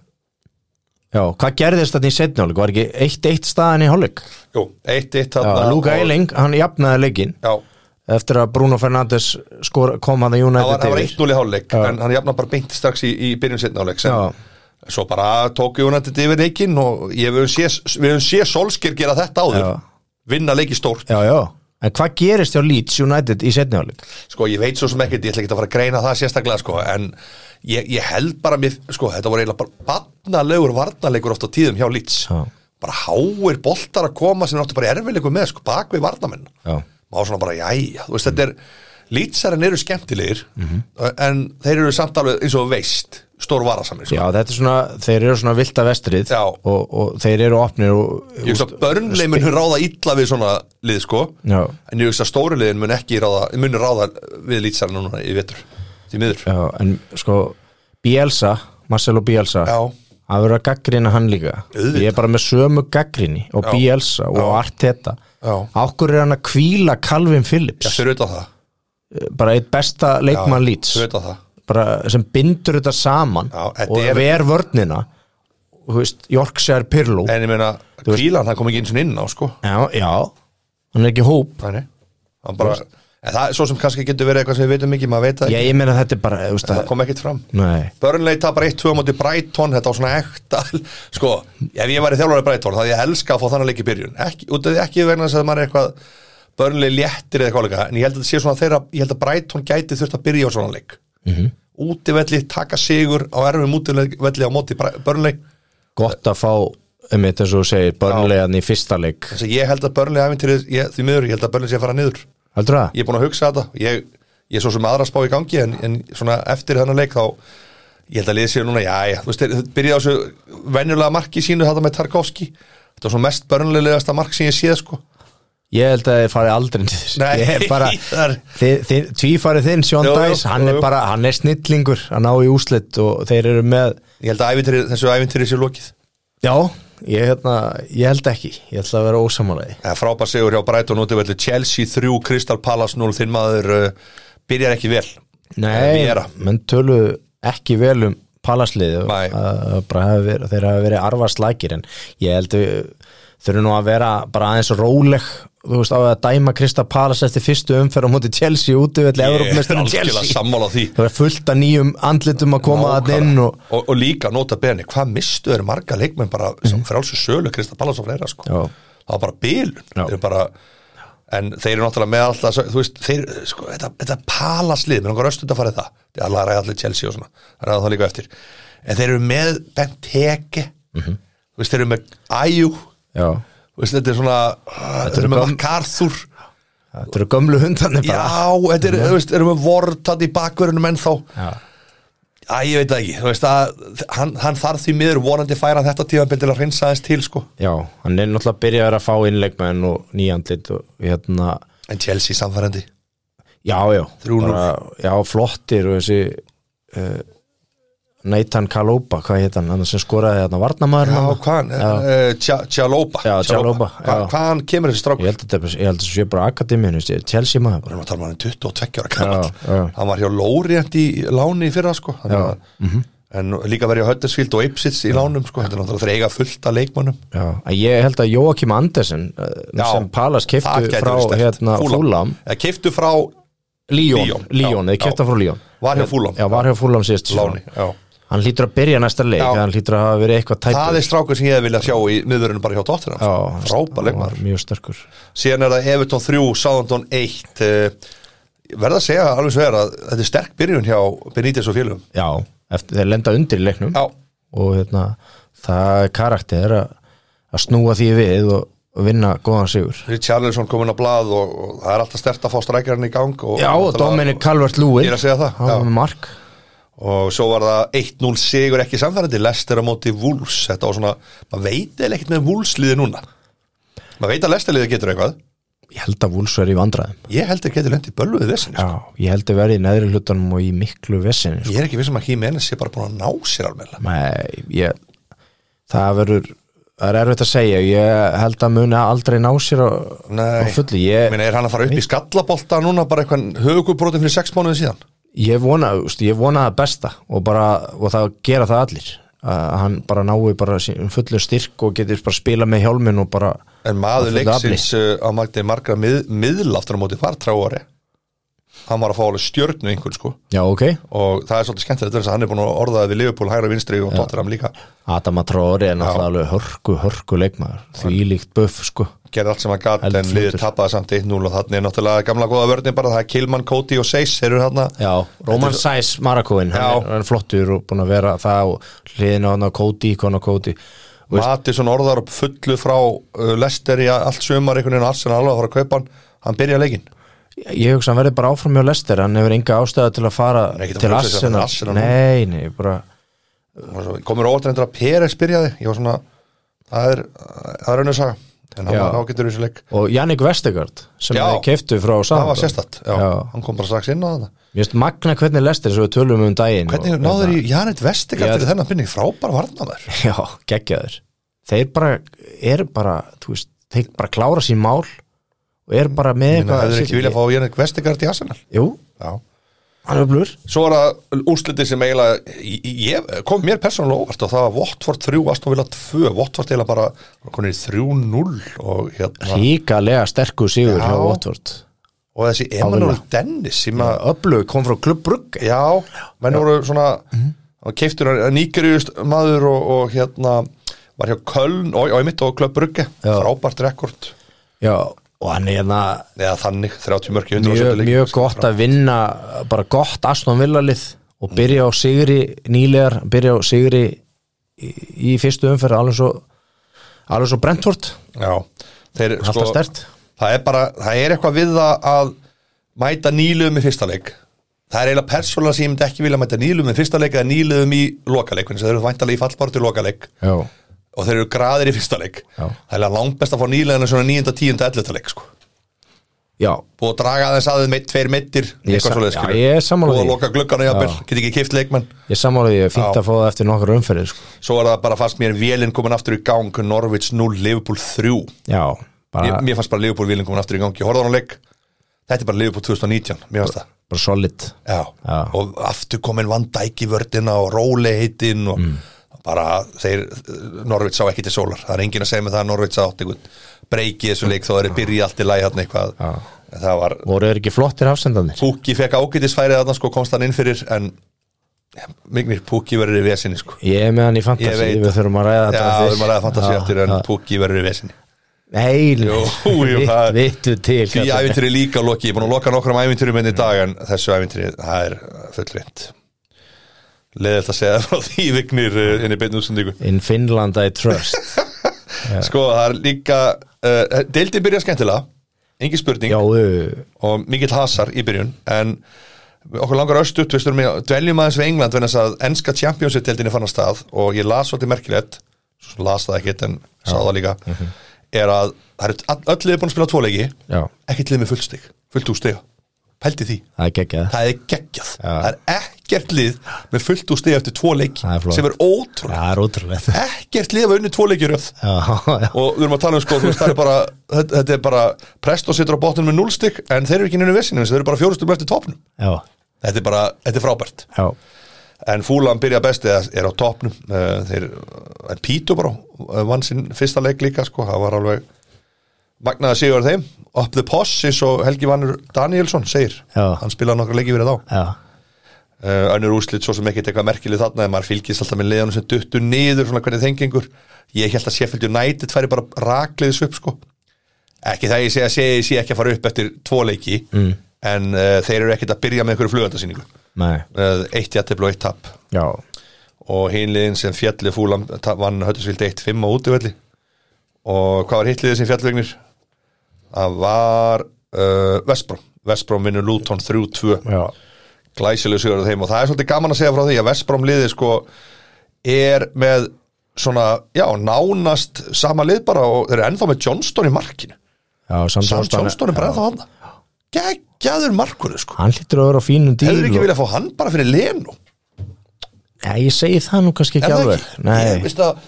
C: já, hvað gerðist þetta í setni hálfleik, var ekki eitt eitt staðan í hálfleik,
B: Jú, eitt, eitt
C: já,
B: þarna
C: Luka
B: og-
C: Eiling hann jafnaði leikin
B: Já,
C: eftir að Bruno Fernandes skor, kom hann að
B: það var,
C: United
B: það var
C: yfir.
B: eitt núli hálfleik en hann jafnar bara beint strax í, í byrjun setna hálfleik
C: Já.
B: sem Svo bara tók United yfir leikinn og ég við höfum séð- við höfum séð Solskir gera þetta áður
C: Já.
B: vinna leiki stórt
C: já, já, en hvað gerist hjá Leeds United í setni hálfleik
B: sko ég veit svo sem ekkert, ég ætla ekki að fara að greina það sérstaklega sko, en ég, ég held bara mér, sko þetta voru eiginlega bara barnalegur varnalegur oft á tíðum hjá Leeds
C: Já.
B: bara háir boltar að koma sem er áttu bara erfileikur með sko, bak við varnamenn
C: Já.
B: má svona bara jæja, þú veist þetta er Leedsarinn eru skemmtilegir
C: Mhm.
B: en þeir eru samt alveg eins og þú veist stór varasamir sko.
C: Já, þetta er svona, þeir eru svona vilda vestrið
B: Já.
C: og, og þeir eru opnir og,
B: ég veist að börnleimin hún ráða illa við svona lið sko,
C: Já.
B: en ég veist að stóri liðin mun ekki ráða, mun ráða við Leedsarinn núna í vetur, því miður
C: Já, en sko, Bielsa Marcelo Bielsa,
B: Já.
C: að vera að gaggrina hann líka
B: Auðvitað.
C: Ég er bara með sömu gaggrini og
B: Já.
C: Bielsa og
B: Já.
C: Arteta
B: Já.
C: Ákkur er hann að kvíla Calvin Phillips
B: Já, fyrir auðvitað það
C: bara eitt besta leikmann Leeds
B: Þú veit að það
C: bara sem bindur þetta saman
B: Já, þetta
C: og
B: er-
C: ver vörnina og þú veist, Yorkshire Pirlo
B: En ég meina, kvílan það kom ekki eins og inn á sko
C: Já, já, hann er ekki hóp
B: Þannig Hann bara En það er svo sem kannski getur verið eitthvað sem við veitum ekki Maður veit það
C: Já,
B: ekki
C: ég meina þetta er bara, þú veist
B: Það
C: að
B: kom ekkit fram
C: Nei,
B: Börnleit tapar 1-2 á móti Brighton Þetta á svona ekta Sko, ef ég væri þjálfari Brighton Það ég elska að fá þannig leik í byrjun ekki, Út af því ekki vegna þess að maður er eitthvað Börnleit léttir eða eitthvað leika En ég held að þetta sé svona þeirra Ég held að Brighton gæti þurft að byrja á svona leik Útivelli, taka sigur á erfum útivelli á móti Burnley
C: gott að fá einmitt eins og þú segir, börnlegan í fyrsta leik
B: Þess að ég held að börnlega æfintýrið, ég- því miður, ég held að börnlega sé að fara niður.
C: heldur það?
B: Ég er búin að hugsa þetta, ég, ég er svo sem með aðra spá í gangi en, en svona eftir þennan leik þá, ég held að liðið sér núna, já, já, þú veist, þeir- þeir byrjaði á þessu venjulega marki sínu þetta með Tarkovski, þetta var svona mest börnlegasta mark sem ég séð sko.
C: Ég held að þið farið aldrei til þess
B: Nei,
C: Ég er bara,
B: það er-
C: þið, þið, Tvífarið þinn, Sean
B: Jú, jú,
C: Dice Hann
B: jú,
C: er
B: jú.
C: bara, hann er snillingur Hann á í úslit og þeir eru með
B: Ég held að ævintýri, þessu ævintýri sé lokið.
C: Já, ég, hérna, ég held ekki Ég ætla að vera ósamálaði
B: Það er frábær sigur hjá Brighton út í velli Chelsea 3, Crystal Palace 0 þinn maður uh, byrjar ekki vel
C: Nei,
B: Vera.
C: menn tölu ekki vel um palasliðu
B: Nei.
C: verið, Þeir hafa verið arfarslækir En ég held að þurfi nú að vera bara aðeins róleg Þú veist á að dæma Krista Palas eftir fyrstu umferð á móti Chelsea úti við allir Evrópmesturinn
B: algjörlega
C: Chelsea
B: sammála því
C: Það er fullt af nýjum andlitum að koma að inn og,
B: og, og líka nota beni, hvað mistu eru marga leikmenn bara
C: Mhm.
B: sem frálsu sölu Crystal Palace og fleira sko
C: Já.
B: það var bara bílun
C: Já.
B: þeir eru bara en þeir eru náttúrulega með alltaf þú veist, þeir, sko, þetta, þetta palaslið mér langar östund að fara í það það er alveg að ræða allir Chelsea og svona það ræða það líka eftir en þeir eru með Benteke
C: Mhm.
B: þú veist, þeir eru með Ayu
C: Já,
B: þú veist, þetta er svona þeir
C: eru
B: eru með
C: göm-
B: MacArthur
C: þetta Mhm. eru gömlu hundarnir bara
B: Já, þetta er, þú veist, erum við vortat í bakverunum ennþá
C: Já.
B: Æ, ég veit það ekki, þú veist að hann, hann þarf því miður vonandi færa þetta tíðanbild til að hreinsa aðeins til, sko
C: Já, hann er náttúrulega byrjaður að fá innleikmenn og nýjandlit og hérna
B: En Chelsea samfærandi
C: Já, já,
B: 3-0.
C: bara- já flottir og þessi uh, Nathan Kalopa, hvað heit hann, hann sem skoraði hérna varnamaður
B: Já, hvaðan, eh, Tja- Tjaloba
C: Já, Tjaloba,
B: Hva-
C: já.
B: Hvaðan kemur þessi strákur?
C: Ég held að þetta ég held að þetta sé bara akademiun, Chelsea maður
B: Við erum að tala um hann 22 ára
C: Já, já.
B: gammal Hann var hjá Lórient í láni í fyrra, sko Þannig að-
C: mhm.
B: En líka verið á Huddersfield og Ipsits í lánum, sko Þetta er náttúrulega þeir eiga fullt að leikmönnum
C: Já, en ég held að Joachim Andersen eh,
B: Já,
C: sem Palas
B: Það
C: keiftu
B: gæti
C: frá
B: verið sterkt.
C: hérna
B: Fulham.
C: Fúlam,
B: Eh, Keyptu frá,
C: Líón,
B: Lyon,
C: Líón,
B: já,
C: þið keiftu
B: já.
C: frá Líón
B: var hjá Fúlam
C: Já, var hjá Fúlam síðast
B: Láni, já
C: Hann hlýtur að byrja næsta leik
B: Já.
C: Hann hlýtur að hafa verið eitthvað tæpur
B: Það er strákur sem ég vilja sjá í miðurinn bara hjá dóttina
C: Já,
B: Frábæleg
C: hann var
B: maður
C: Mjög sterkur
B: Síðan er það Everton 3, Southampton 1 eh, Verða að segja alveg svo er að þetta er sterk byrjun hjá Benítez og félugum
C: Já, eftir, þeir lenda undir í leiknum
B: Já,
C: Og hérna, það er karakter að, að snúa því við og, og vinna góðan sigur
B: Richarlison komin að blað og, og það er alltaf stert að fá strækjarinn í gang og,
C: Já, og
B: náttúrulega-
C: Dominic Calvert-Lewin
B: Ég er að segja það,
C: Hann var
B: já.
C: með mark
B: og svo var það 1-0 sigur ekki samfærandi Lester á móti Wolves Þetta var svona, maður veit eða ekkert með Wolves liði núna Maður veit að Lester liði getur eitthvað
C: Ég held að Wolves er í vandræðum
B: Ég heldur getur lent í bölvuðið þessin
C: Já, ég held að verði í neðri hlutanum og í miklu vessinni sko.
B: Ég er ekki vissum að Hímenes sé bara búin að ná sér alveg
C: Nei, ég Það verður, það er erfitt að segja Ég held að muni aldrei ná sér á, á
B: Nei.
C: fullu Ég,
B: Ég meina, er hann að fara upp í skallabolta núna bara eitthvað höfugubrótin fyrir sex mánuðin síðan?
C: ég vona, úst, ég vona það besta og, bara, og það gera það allir að hann bara nái bara sín- fullur styrk og getur bara spila með hjálmin og bara
B: En maður
C: Að fullu
B: leiksins uh, á magdi margra mið, miðlaftur á móti var tráari hann var að fá alveg stjörnu einhvern sko
C: já ok,
B: og það er svolítið skemmtilegt þess að hann er búin að orða það við Liverpool hægra vinstri og Tottenham líka
C: Adama Traore er náttúrulega alveg hörku, hörku leikmaður því líkt buff sko
B: gerði allt sem hann gat
C: Heldur
B: en liðið
C: fljótur.
B: tapaði samt 1-0 og þannig er náttúrulega gamla góða vörðin bara það er Kilman, Cody og Seis þeir eru þarna
C: já, Roman Sæs Marakóin hann,
B: Já.
C: er- hann er flottur og búin að vera það og hliðin á hann á Kóti, hann á Kóti
B: Matisson orðar upp fullu frá uh, Lester í allt sömar einhvern veginn og Arsenal alveg að fara að kaupa hann hann byrja leikinn
C: ég hugsa hann verði bara áfram hjá Lester hann hefur enga ástæða til að fara
B: er ekkert að
C: til
B: hugsa sér að fara
C: Arsenal
B: Arsenal núna.
C: nei, nei, bara
B: Og svo komur óvart reyndar að Peres byrjaði ég var svona, það er það er önnur saga, en hann
C: Já.
B: var ágættur í þessu leik
C: og Jannik Vestegard sem
B: Já.
C: þið keiftu frá Southampton.
B: það var sérstætt, já,
C: Já.
B: hann kom bara strax inn á þetta
C: Mér finnst magna hvernig lestir svo við tölum um daginn
B: hvernig
C: og-
B: náður í Janet Vestegard
C: Já.
B: fyrir þennan pinning frábær varnamæður
C: Já, geggjaður Þeir bara, eru bara, þú veist Þeir bara klára sín mál og eru bara með
B: það hefur
C: sitt-
B: ekki viljað fá Janet Vestegard í Arsenal
C: Jú,
B: já.
C: hann er blur
B: svo er það úrslitið sem eiginlega ég- ég, kom mér persónulega óvart og það var Votford 3, Aston Villa 2 Votford eiginlega bara konir 3-0 og, hérna,
C: Ríkalega sterkur sigur
B: Já.
C: hjá Watford
B: og þessi Emmanuel Dennis sem að
C: Öflug kom frá klubbrugg
B: Já, menn voru svona
C: Mhm.
B: og keiftur hann nýgerjust maður og, og hérna var hjá Köln og, og einmitt og Klöpp Brugge
C: Já.
B: frábært rekord
C: Já, og hann er hérna
B: eða þannig 30 mörki
C: mjög, mjög gott að vinna bara gott Aston Villa lið og byrja á sigri nýlegar, byrja á sigri í, í fyrstu umferð alveg svo alveg svo Brentford
B: Já, þeir, sko-
C: Alltaf sterkt.
B: Það er bara, það er eitthvað við það að mæta nýluðum í fyrsta leik Það er eiginlega persónulega sem ég myndi ekki vilja mæta nýluðum í fyrsta leik eða nýluðum í lokaleik þannig að þeir eru væntalega í fallbártu lokaleik
C: Já,
B: og þeir eru graðir í fyrsta leik
C: Já.
B: Það er langt best að fá nýluðina svona 9. 10. 11. leik sko.
C: já,
B: Búið að draga aðeins aðeins meitt, tveir meittir
C: Ég sam- já, ég er sammála
B: Búið að
C: því.
B: loka gluggana jafnvel,
C: Já.
B: get ekki kift leikmenn
C: ég sammála því, ég er
B: Já.
C: fínt að fá það eftir nokkar umferðir sko.
B: Svo er það bara fast mér vélinn komin aftur í gang Norvits 0, Liverpool 3
C: Já, bara,
B: Mér, mér fannst bara Liverpool vélinn komin aftur í gang Ég horfði á hann leik Þetta er bara Liverpool 2019, mér fannst það
C: bara solid
B: Já.
C: Já.
B: Og aftur komin vandæk í vördina og róli heitinn og
C: Mm.
B: bara þeir Norvits sá ekki til sólar Það er enginn að segja með það að Norvits átti einhvern breyki í þessu leik þó þeir byrja allt í læg hann eitthvað
C: Já.
B: En Það var
C: voru þeir ekki flottir hafsendanir
B: Púki fekk ágætisfærið þarna sko komst hann inn fyrir en mignir Púki verður í vesinni sko
C: Ég er með hann í
B: Ég
C: fantasy,
B: veit
C: við þurfum að ræða
B: Já,
C: þetta
B: við
C: eftir.
B: erum að ræða fantasi
C: Já,
B: aftur en
C: já.
B: Púki verður í vesinni
C: Nei,
B: Jú, jú, það-
C: vittu til
B: Því
C: kallar.
B: ævintýri líka loki, ég er búin að loka nokkrum ævintýrum enn í dag en þessu ævintýri, það er fullrind Leðilt að segja það frá því vignir uh, inn í beinni útsendingu
C: In Finland I trust
B: Sko, það er líka, uh, deildin byrja skemmtilega, engin spurning
C: Já, uh,
B: og mikill hasar í byrjun en okkur langar östu upp, við störum í dveljum aðeins við England vegna þess að enska Champions deildin er fann að stað og ég las svolítið merkilegt svo sem las það ekkit en sá það líka
C: Mhm.
B: er að það eru all- öll liðið búin að spila tvoleiki
C: já,
B: ekkert lið með fullt stig, fullt úr stiga pældi því,
C: það er geggjað
B: það er geggjað
C: Já.
B: það er ekkert lið með fullt úr stiga eftir tvo leiki
C: Það er flott.
B: sem er ótrúlega
C: Það er ótrúlegt
B: ekkert lið var unni tvo leiki í röð
C: Já, já,
B: og við erum að tala um sko, þú veist, það er bara þetta, þetta er bara, Presto situr á botnum með núlstig en þeir eru ekki nynnu vissinu, þeir eru bara fjórustum eftir topnum,
C: já,
B: þetta er bara, þetta er frábært
C: já,
B: en Fúlan byrja best eða er á topnum eh, þeir, en Pítu bara eh, vann sinn fyrsta leik líka, sko, það var alveg magnaði sigur þeim up the poss eins og Helgi Vannur Danielsson segir,
C: Já.
B: hann spilaði nokkra leiki fyrir þá
C: já.
B: uh, önnur úrslit svo sem ekkert eitthvað merkilið þarna en maður fylgist alltaf með leiðanum sem duttu niður svona hvernig þengingur ég held að Sheffield United færi bara rakliðis upp sko ekki það ég sé að sé, ég sé ekki að fara upp eftir tvo leiki mm. en uh, þeir eru ekkert að byrja með einhverju flugandasýningu
C: Nei,
B: uh, eitt jættiblu og eitt tap
C: já,
B: og hinliðin sem fjallið fúlam ta- vann Höttisvild 1-5 á útivelli og hvað var hitliðið sem fjallvegnir? það var uh, Vestbróm Vestbróm vinnur Luton 3-2
C: já,
B: glæsileg sigur á þeim og það er svolítið gaman að segja frá því að Vestbrom liði sko er með svona, já, nánast sama lið bara og þeir eru ennþá með Johnston í markinu
C: já Sam
B: Sam Johnston er bara
C: já.
B: ennþá hann geggjaður markinu sko
C: Hann hlýtur að vera á fínum díl
B: hefur ekki
C: og-
B: viljað fá hann bara fyrir Lenu
C: Nei, ég segi það nú kannski
B: er
C: ekki
B: það
C: alveg
B: ekki? Ég
C: Nei,
B: veist að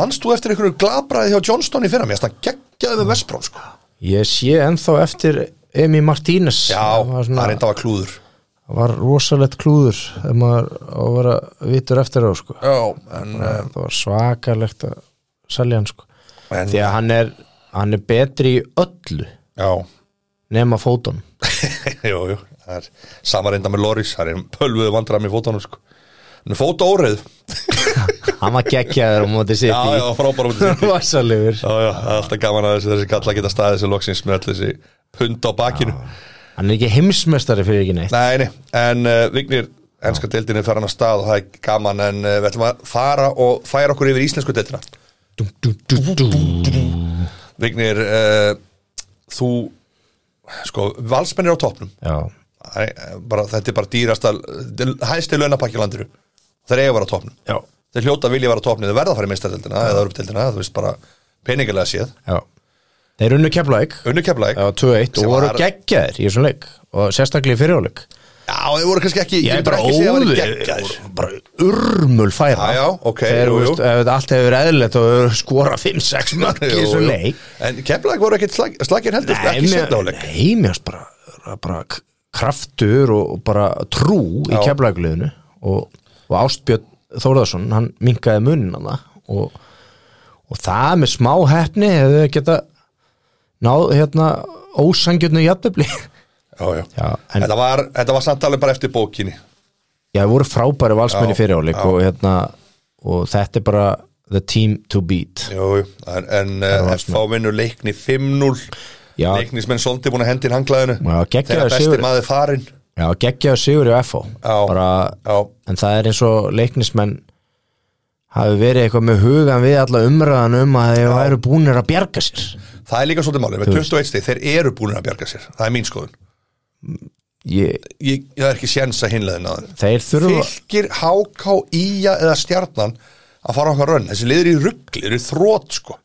B: mannst þú eftir einhverju glabræði hjá Johnston í fyrra mér, þannig geggjaður með Vestbrom sko
C: ég sé ennþá eftir Emi Martínez
B: já,
C: það
B: það
C: var,
B: er
C: svona,
B: enda var klúður
C: var rosalegt klúður ef maður á að vera vitur eftir á sko.
B: já, en,
C: það var svakalegt að selja hann sko.
B: eh, en
C: því að hann er, hann er betri í öllu
B: já,
C: nema fótun
B: jú, jú, það er sama reynda með Loris, það er pölvuðu vandræðum í fótunum sko. En fóta órið
C: hann var geggjaður á móti sitt
B: Já, já, frábæra út Já,
C: vasalegur
B: já, það er alltaf gaman að þessi, þessi kalla geta staðið sem loksins með allir þessi pund á bakinu
C: hann er ekki heimsmestari fyrir ekki neitt
B: Nei, nei, en uh, Vignir, enska deildin er farin að stað og það er gaman En uh, við ætlum að fara og færa okkur yfir íslensku deildina
C: dú, dú, dú, dú.
B: Vignir, uh, þú, sko, valsmenn er á topnum
C: já,
B: Æ, bara, Þetta er bara dýrasta, hæsti launapakki í landinu Þeir eiga að vera á topnum
C: já,
B: þeir hljóta að vilja vera á topni þeir verða að fara í meistardeldina eða örupdeldina þú veist bara peningilega séð
C: já þeir unnu keflaug
B: unnu keflaði
C: já, 2-1
B: Sem
C: og voru
B: var-
C: geggjaður í þessum leik og sérstaklega í fyrirháleik
B: já þeir voru kannski ekki
C: ég er
B: myndi
C: bara
B: ekki segja að
C: óður
B: það væri geggjaður.
C: bara urmul færa
B: Já, já, ok, jú,
C: þeir, jú,
B: jú.
C: Veist, ef allt hefur eðlilegt og skora 5-6 mörg í
B: Jú,
C: þessum
B: jú.
C: leik
B: en keflaði voru ekkit slag, slagir heldur sko, ekki
C: mér-
B: setnáleik
C: nei, mér finnst bara, bara k- kraftur og og bara trú í
B: Já.
C: keflagliðinu og, og Ástbjörn Þórðarsson hann minkaði munn að það og, og það með smá hefni hefði þeir geta náð hérna ósangjörnu jafnöfli Já, en-
B: þetta var, þetta var samtalið bara eftir bókinni
C: Já, það voru frábæri valsmenni
B: Já,
C: fyrirháleik
B: já.
C: og hérna og þetta er bara the team to beat
B: jú, jú. en, en eh,
C: Valsmenn.
B: FH vinnur leikni 5-0
C: Já.
B: leiknismenn svolítið búin að hendi inn hanglaðinu
C: Já, geggjaður
B: þegar besti
C: sigur.
B: maður farin
C: Já, geggjaðu sigur í FO
B: Já,
C: bara,
B: já.
C: en það er eins og leiknismenn hafi verið eitthvað með hugan við alla umræðan um að þeir væru búnir að bjarga sér
B: Það er líka svolítið málið, með 21 stig, þeir eru búin að bjarga sér, það er mín skoðun
C: ég,
B: ég, Það er ekki séns að hinleðin að þeim
C: þeir þurfa
B: Fylgir, HK, Ía eða Stjarnan að fara okkar rönn, þessi liður í ruggli, þeir eru þrótt sko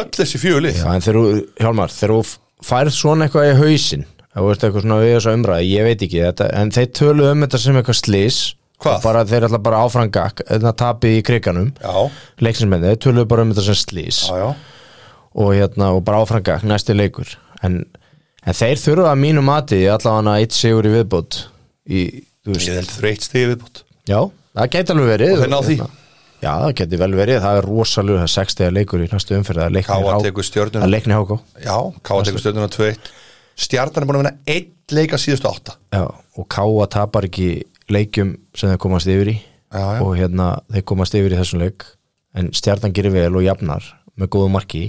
B: Öll þessi fjöli
C: Já, en þegar þú, Hjálmar, þegar þú færð svona eitthvað í hausinn það veist eitthvað svona við þessa umræði, ég veit ekki þetta en þeir töluðu um þetta sem eitthvað slís
B: Hvað?
C: Og bara, þeir ætla bara áfrangak eða tapið í kriganum
B: Já,
C: leiksinsmennið, þeir töluðu bara um þetta sem slís
B: já, já
C: og, hérna, og bara áfrangak næsti leikur en, en þeir þurfa að mínu mati allavega eitt sigur í viðbót í, þú veist,
B: Ég held þreitt stig í viðbót
C: já, það gæti alveg verið
B: Og þeir ná því.
C: Já, það geti vel verið, það er rosalur það er 60 leikur í næstu umferð það er leiknir
B: Káa
C: Há-
B: tekur Stjörnuna.
C: það er leiknir háká
B: Já, Káa tekur stjórnuna 2-1 Stjarnan er búin að vinna einn leika síðustu átta
C: Já, og Káa tapar ekki leikjum sem þeir komast yfir í
B: Já, já.
C: og hérna þeir komast yfir í þessum leik en stjarnan gerir vel og jafnar með góðu marki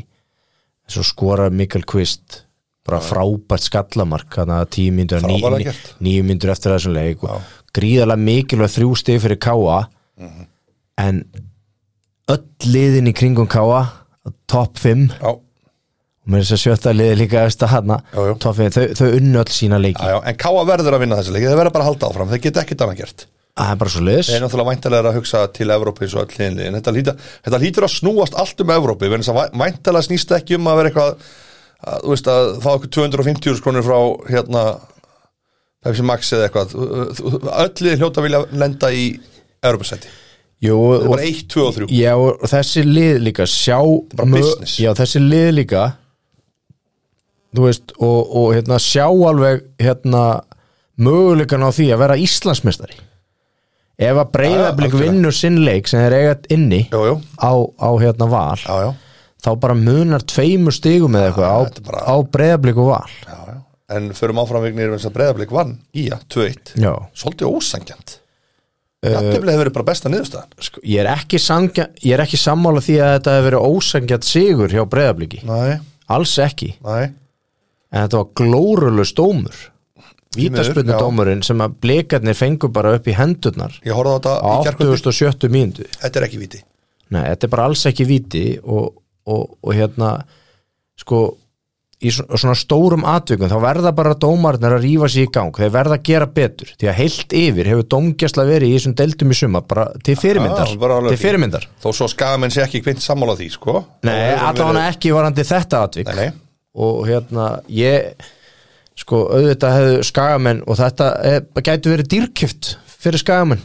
C: svo skorar Mikael Kvist bara frábært skallamark þannig að tíu myndur, ní,
B: Frábærlega
C: ní,
B: gert.
C: níu myndur eftir þessum leik
B: Já.
C: og gríðalega mikilvæg þrjú stig fyrir Káa
B: Mhm.
C: en öll liðin í kringum Káa topp 5
B: Já,
C: og mér er þess að sjötta liði líka eftir hana,
B: Já, já.
C: topp 5, þau, þau unnu öll sína leiki
B: já, já, en Káa verður að vinna þessi leiki, þeir verður bara að halda áfram, þeir geta ekkert annað gert
C: það er bara svo liðs
B: Þeir er náttúrulega væntalega að hugsa til Evrópi eins og öll hinli, en þetta, líta, þetta lítur að snúast allt um Evrópi, en þess að væntalega snýst það ekki um að vera eitthvað að, þú veist, að fá okkur 250 skrónir frá hérna Pepsi Max eða eitthvað öll liðin hljóta vilja lenda í Evrópasæti,
C: Jú,
B: það er
C: og
B: bara 1, 2 og 3
C: Já, og þessi lið líka sjá
B: bara
C: mö-
B: business.
C: Já, þessi lið líka þú veist, og, og hérna sjá alveg hérna möguleikan á því að vera Íslandsmeistari ef að breyðablik
B: Já, já,
C: vinnur sinn leik sem þeir eiga inni
B: Jú, jú,
C: á, á hérna val
B: já, já,
C: þá bara munar tveimur stigum eða
B: þetta
C: eitthvað
B: er
C: á,
B: bara-
C: á breyðablik og val
B: já, já. en förum áfram vignir eins að breyðablík vann í að 2-1
C: Já,
B: svolítið ósangjant Jafntefli hefur verið bara besta niðurstaðan
C: sko, ég er ekki, sangja, ég er ekki sammála því að þetta hefur verið ósangjart sigur hjá breyðabliki
B: Nei,
C: alls ekki
B: nei
C: en þetta var glórulust dómur vítaspunni
B: já.
C: dómurinn sem að blikarnir fengu bara upp í hendurnar
B: Ég horfði á þetta
C: á
B: í gerkvöldi,
C: 8070 mínútu
B: þetta er ekki viti
C: Nei, þetta er bara alls ekki viti og, og, og hérna sko í svo- svona stórum atvikum þá verða bara dómarnir að rífa sér í gang þeir verða að gera betur því að heilt yfir hefur dómgjastla verið í þessum deildum í suma bara til fyrirmyndar,
B: Já, bara alveg
C: til
B: fínt.
C: fyrirmyndar.
B: Þó svo skamenn sé ekki kvind sammála því, sko
C: Nei, allavega ekki varandi þetta atvik
B: Nei, nei,
C: og hérna ég sko auðvitað hefðu skagamenn og þetta er, gæti verið dýrkift fyrir skagamenn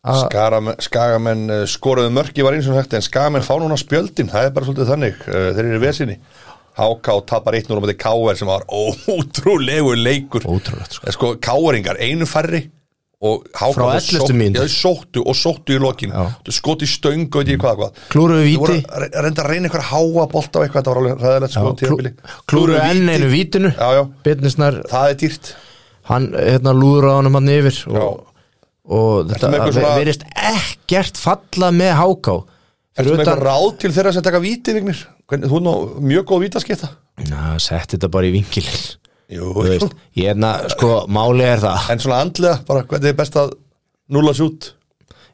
B: Skagamenn, skagamenn eh, skoruðu mörki var eins og sagt, en skagamenn fá núna spjöldin það er bara svolítið þannig, eh, þeir eru í vesinni HK tapar 1-0 um þetta KR sem var ótrúlegu leikur
C: Ótrúlegt, sko.
B: Eh, sko KR-ingar einu færri og HK
C: Frá
B: þeir
C: 11.
B: sótt-
C: mínútu.
B: Já, þeir sóttu og sóttu í lokin
C: Já.
B: Þeir skotu í stöng og veit ég hvað hvað
C: klúruðu
B: Þeir voru
C: víti
B: að re- reynda að reyna einhver háa bolta og eitthvað, þetta var alveg ræðilegt sko
C: klú,
B: tímabili.
C: klúruðu
B: Klúðruðu
C: enn
B: víti.
C: einu vítinu
B: Já, já,
C: bitnisnar,
B: það er dýrt
C: hann hérna lúður á honum hann yfir og, og
B: Ertu með
C: þetta
B: eitthvað
C: svona...
B: svona-
C: verist ekkert falla með háká
B: Ertu
C: fyrir
B: með eitthvað
C: utan
B: ráð til þeirra sem taka víti vignir? Hvernig, þú er nú mjög góð vítaskita
C: Ná, setti þetta bara í vinkilin
B: Jú,
C: þú veist, ég hérna, sko, máli er það
B: En svona andlega, bara hvernig er best að núla sér út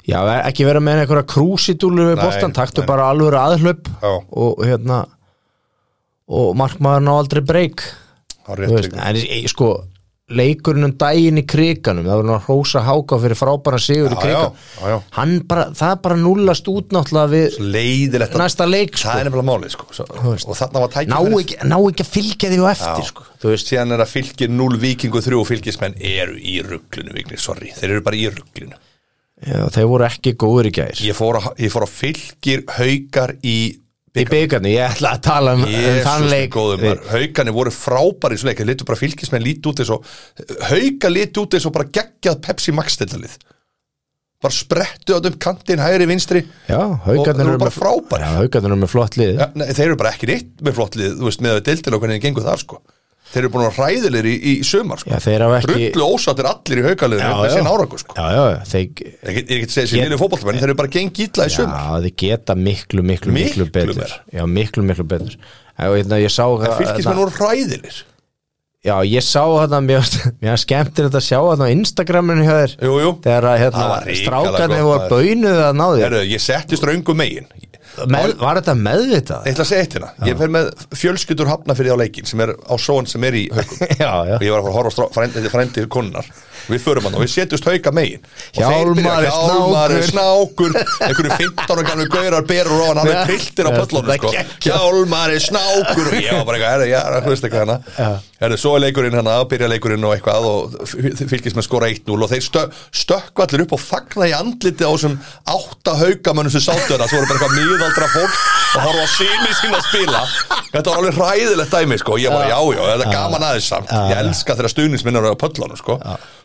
C: Já, e- ekki vera með einhverja krúsidúlur við
B: Nei,
C: bóttan, taktu
B: nei.
C: bara alvöru aðhlaup
B: Já.
C: og hérna og markmaður ná aldrei breyk
B: Á
C: þú veist,
B: rétt
C: en ég, sko leikurinn um daginn í kriganum það var nú að hrósa háka fyrir frábæra sigur í
B: Já,
C: krigan
B: já, já, já.
C: hann bara, það bara nullast út náttúrulega við
B: Leiðilegt að
C: næsta leik sko.
B: Það er nefnilega málið sko Svo,
C: veist.
B: Og þarna var
C: ná,
B: tækifærið.
C: ekki, ná ekki að fylgja því á eftir
B: Já.
C: sko.
B: Þú veist, síðan er að fylgir 0 vikingu 3 og fylgismenn eru í rugglinu, Vignir, sorry, þeir eru bara í rugglinu.
C: Já, þeir voru ekki góður í gær
B: Ég fór að, ég fór að fylgir haukar í
C: í byggarni, ég ætla að tala um, um þann leik
B: Jésus, haukarnir voru frábæri í svona leik, þeir litu bara fylgismenn líti út eins og hauka líti út eins og bara geggjað Pepsi Max stillalið bara sprettu át um kantinn hægri vinstri
C: Já,
B: Og þeir
C: haugarnir
B: voru
C: eru
B: bara
C: með-
B: frábærir.
C: Já, haugarnir eru með flott lið
B: ja, nei, þeir eru bara ekki neitt með flott lið, þú veist, með að deildina og hvernig þeir gengur þar sko þeir eru búin að ræðilir í, í sumar sko.
C: Já, þeir hafa ekki
B: rullu ósattir allir í haukaliðinu
C: Já,
B: með
C: já.
B: sín árangur sko
C: Já, já, þeir
B: ég get, ég get segið sér
C: Ég-
B: nýlu fótballmenn, þeir eru bara geng ítla í sumar
C: Já, þeir geta miklu, miklu, miklu,
B: Miklu
C: betur
B: meira.
C: Já, miklu, miklu betur Já, og hérna, ég sá
B: en fylgismenn voru ræðilir
C: já, ég sá þarna mér varst- mér var skemmtilegt að sjá þarna á Instagraminu hjá þér
B: Jú, jú.
C: þegar að hérna,
B: Það var hrikalega
C: strákarnir
B: gott,
C: voru
B: maður.
C: bönuð að ná þér
B: Herru, ég settist röngu megin
C: Með, var þetta meðvitað?
B: Ég ætla að segja eitt hérna Ég fer með fjölskyldur hafna fyrir á leikin sem er á són sem er í haugum
C: já, já,
B: og ég var að fara að horfa á strá- frændi, þetta er frændi konunnar við förum hann og við setjumst hauka megin og
C: Hjálmar er
B: hjálmar er snákur einhverju 15 og kannu gaurar berur og hann alveg
C: Já.
B: triltir á
C: Já,
B: pöllunum
C: þetta er
B: sko.
C: geggjað.
B: hjálmar er snákur og ég var bara eitthvað, herri, já, þú veist ekki hana herri, svo er leikurinn hana, byrja leikurinn og eitthvað og fylgist með skora 1-0 og þeir stö, stökku allir upp og fagna í andliti á þessum átta haukamönnum sem sáttu þetta, svo voru bara eitthvað miðaldra fólk og horfa á síni sín að spila þetta var alveg ræðilegt dæmi sko ég bara já já, þetta er gaman aðeins samt ég elska þegar stuðnisminnar eru á pöllunum sko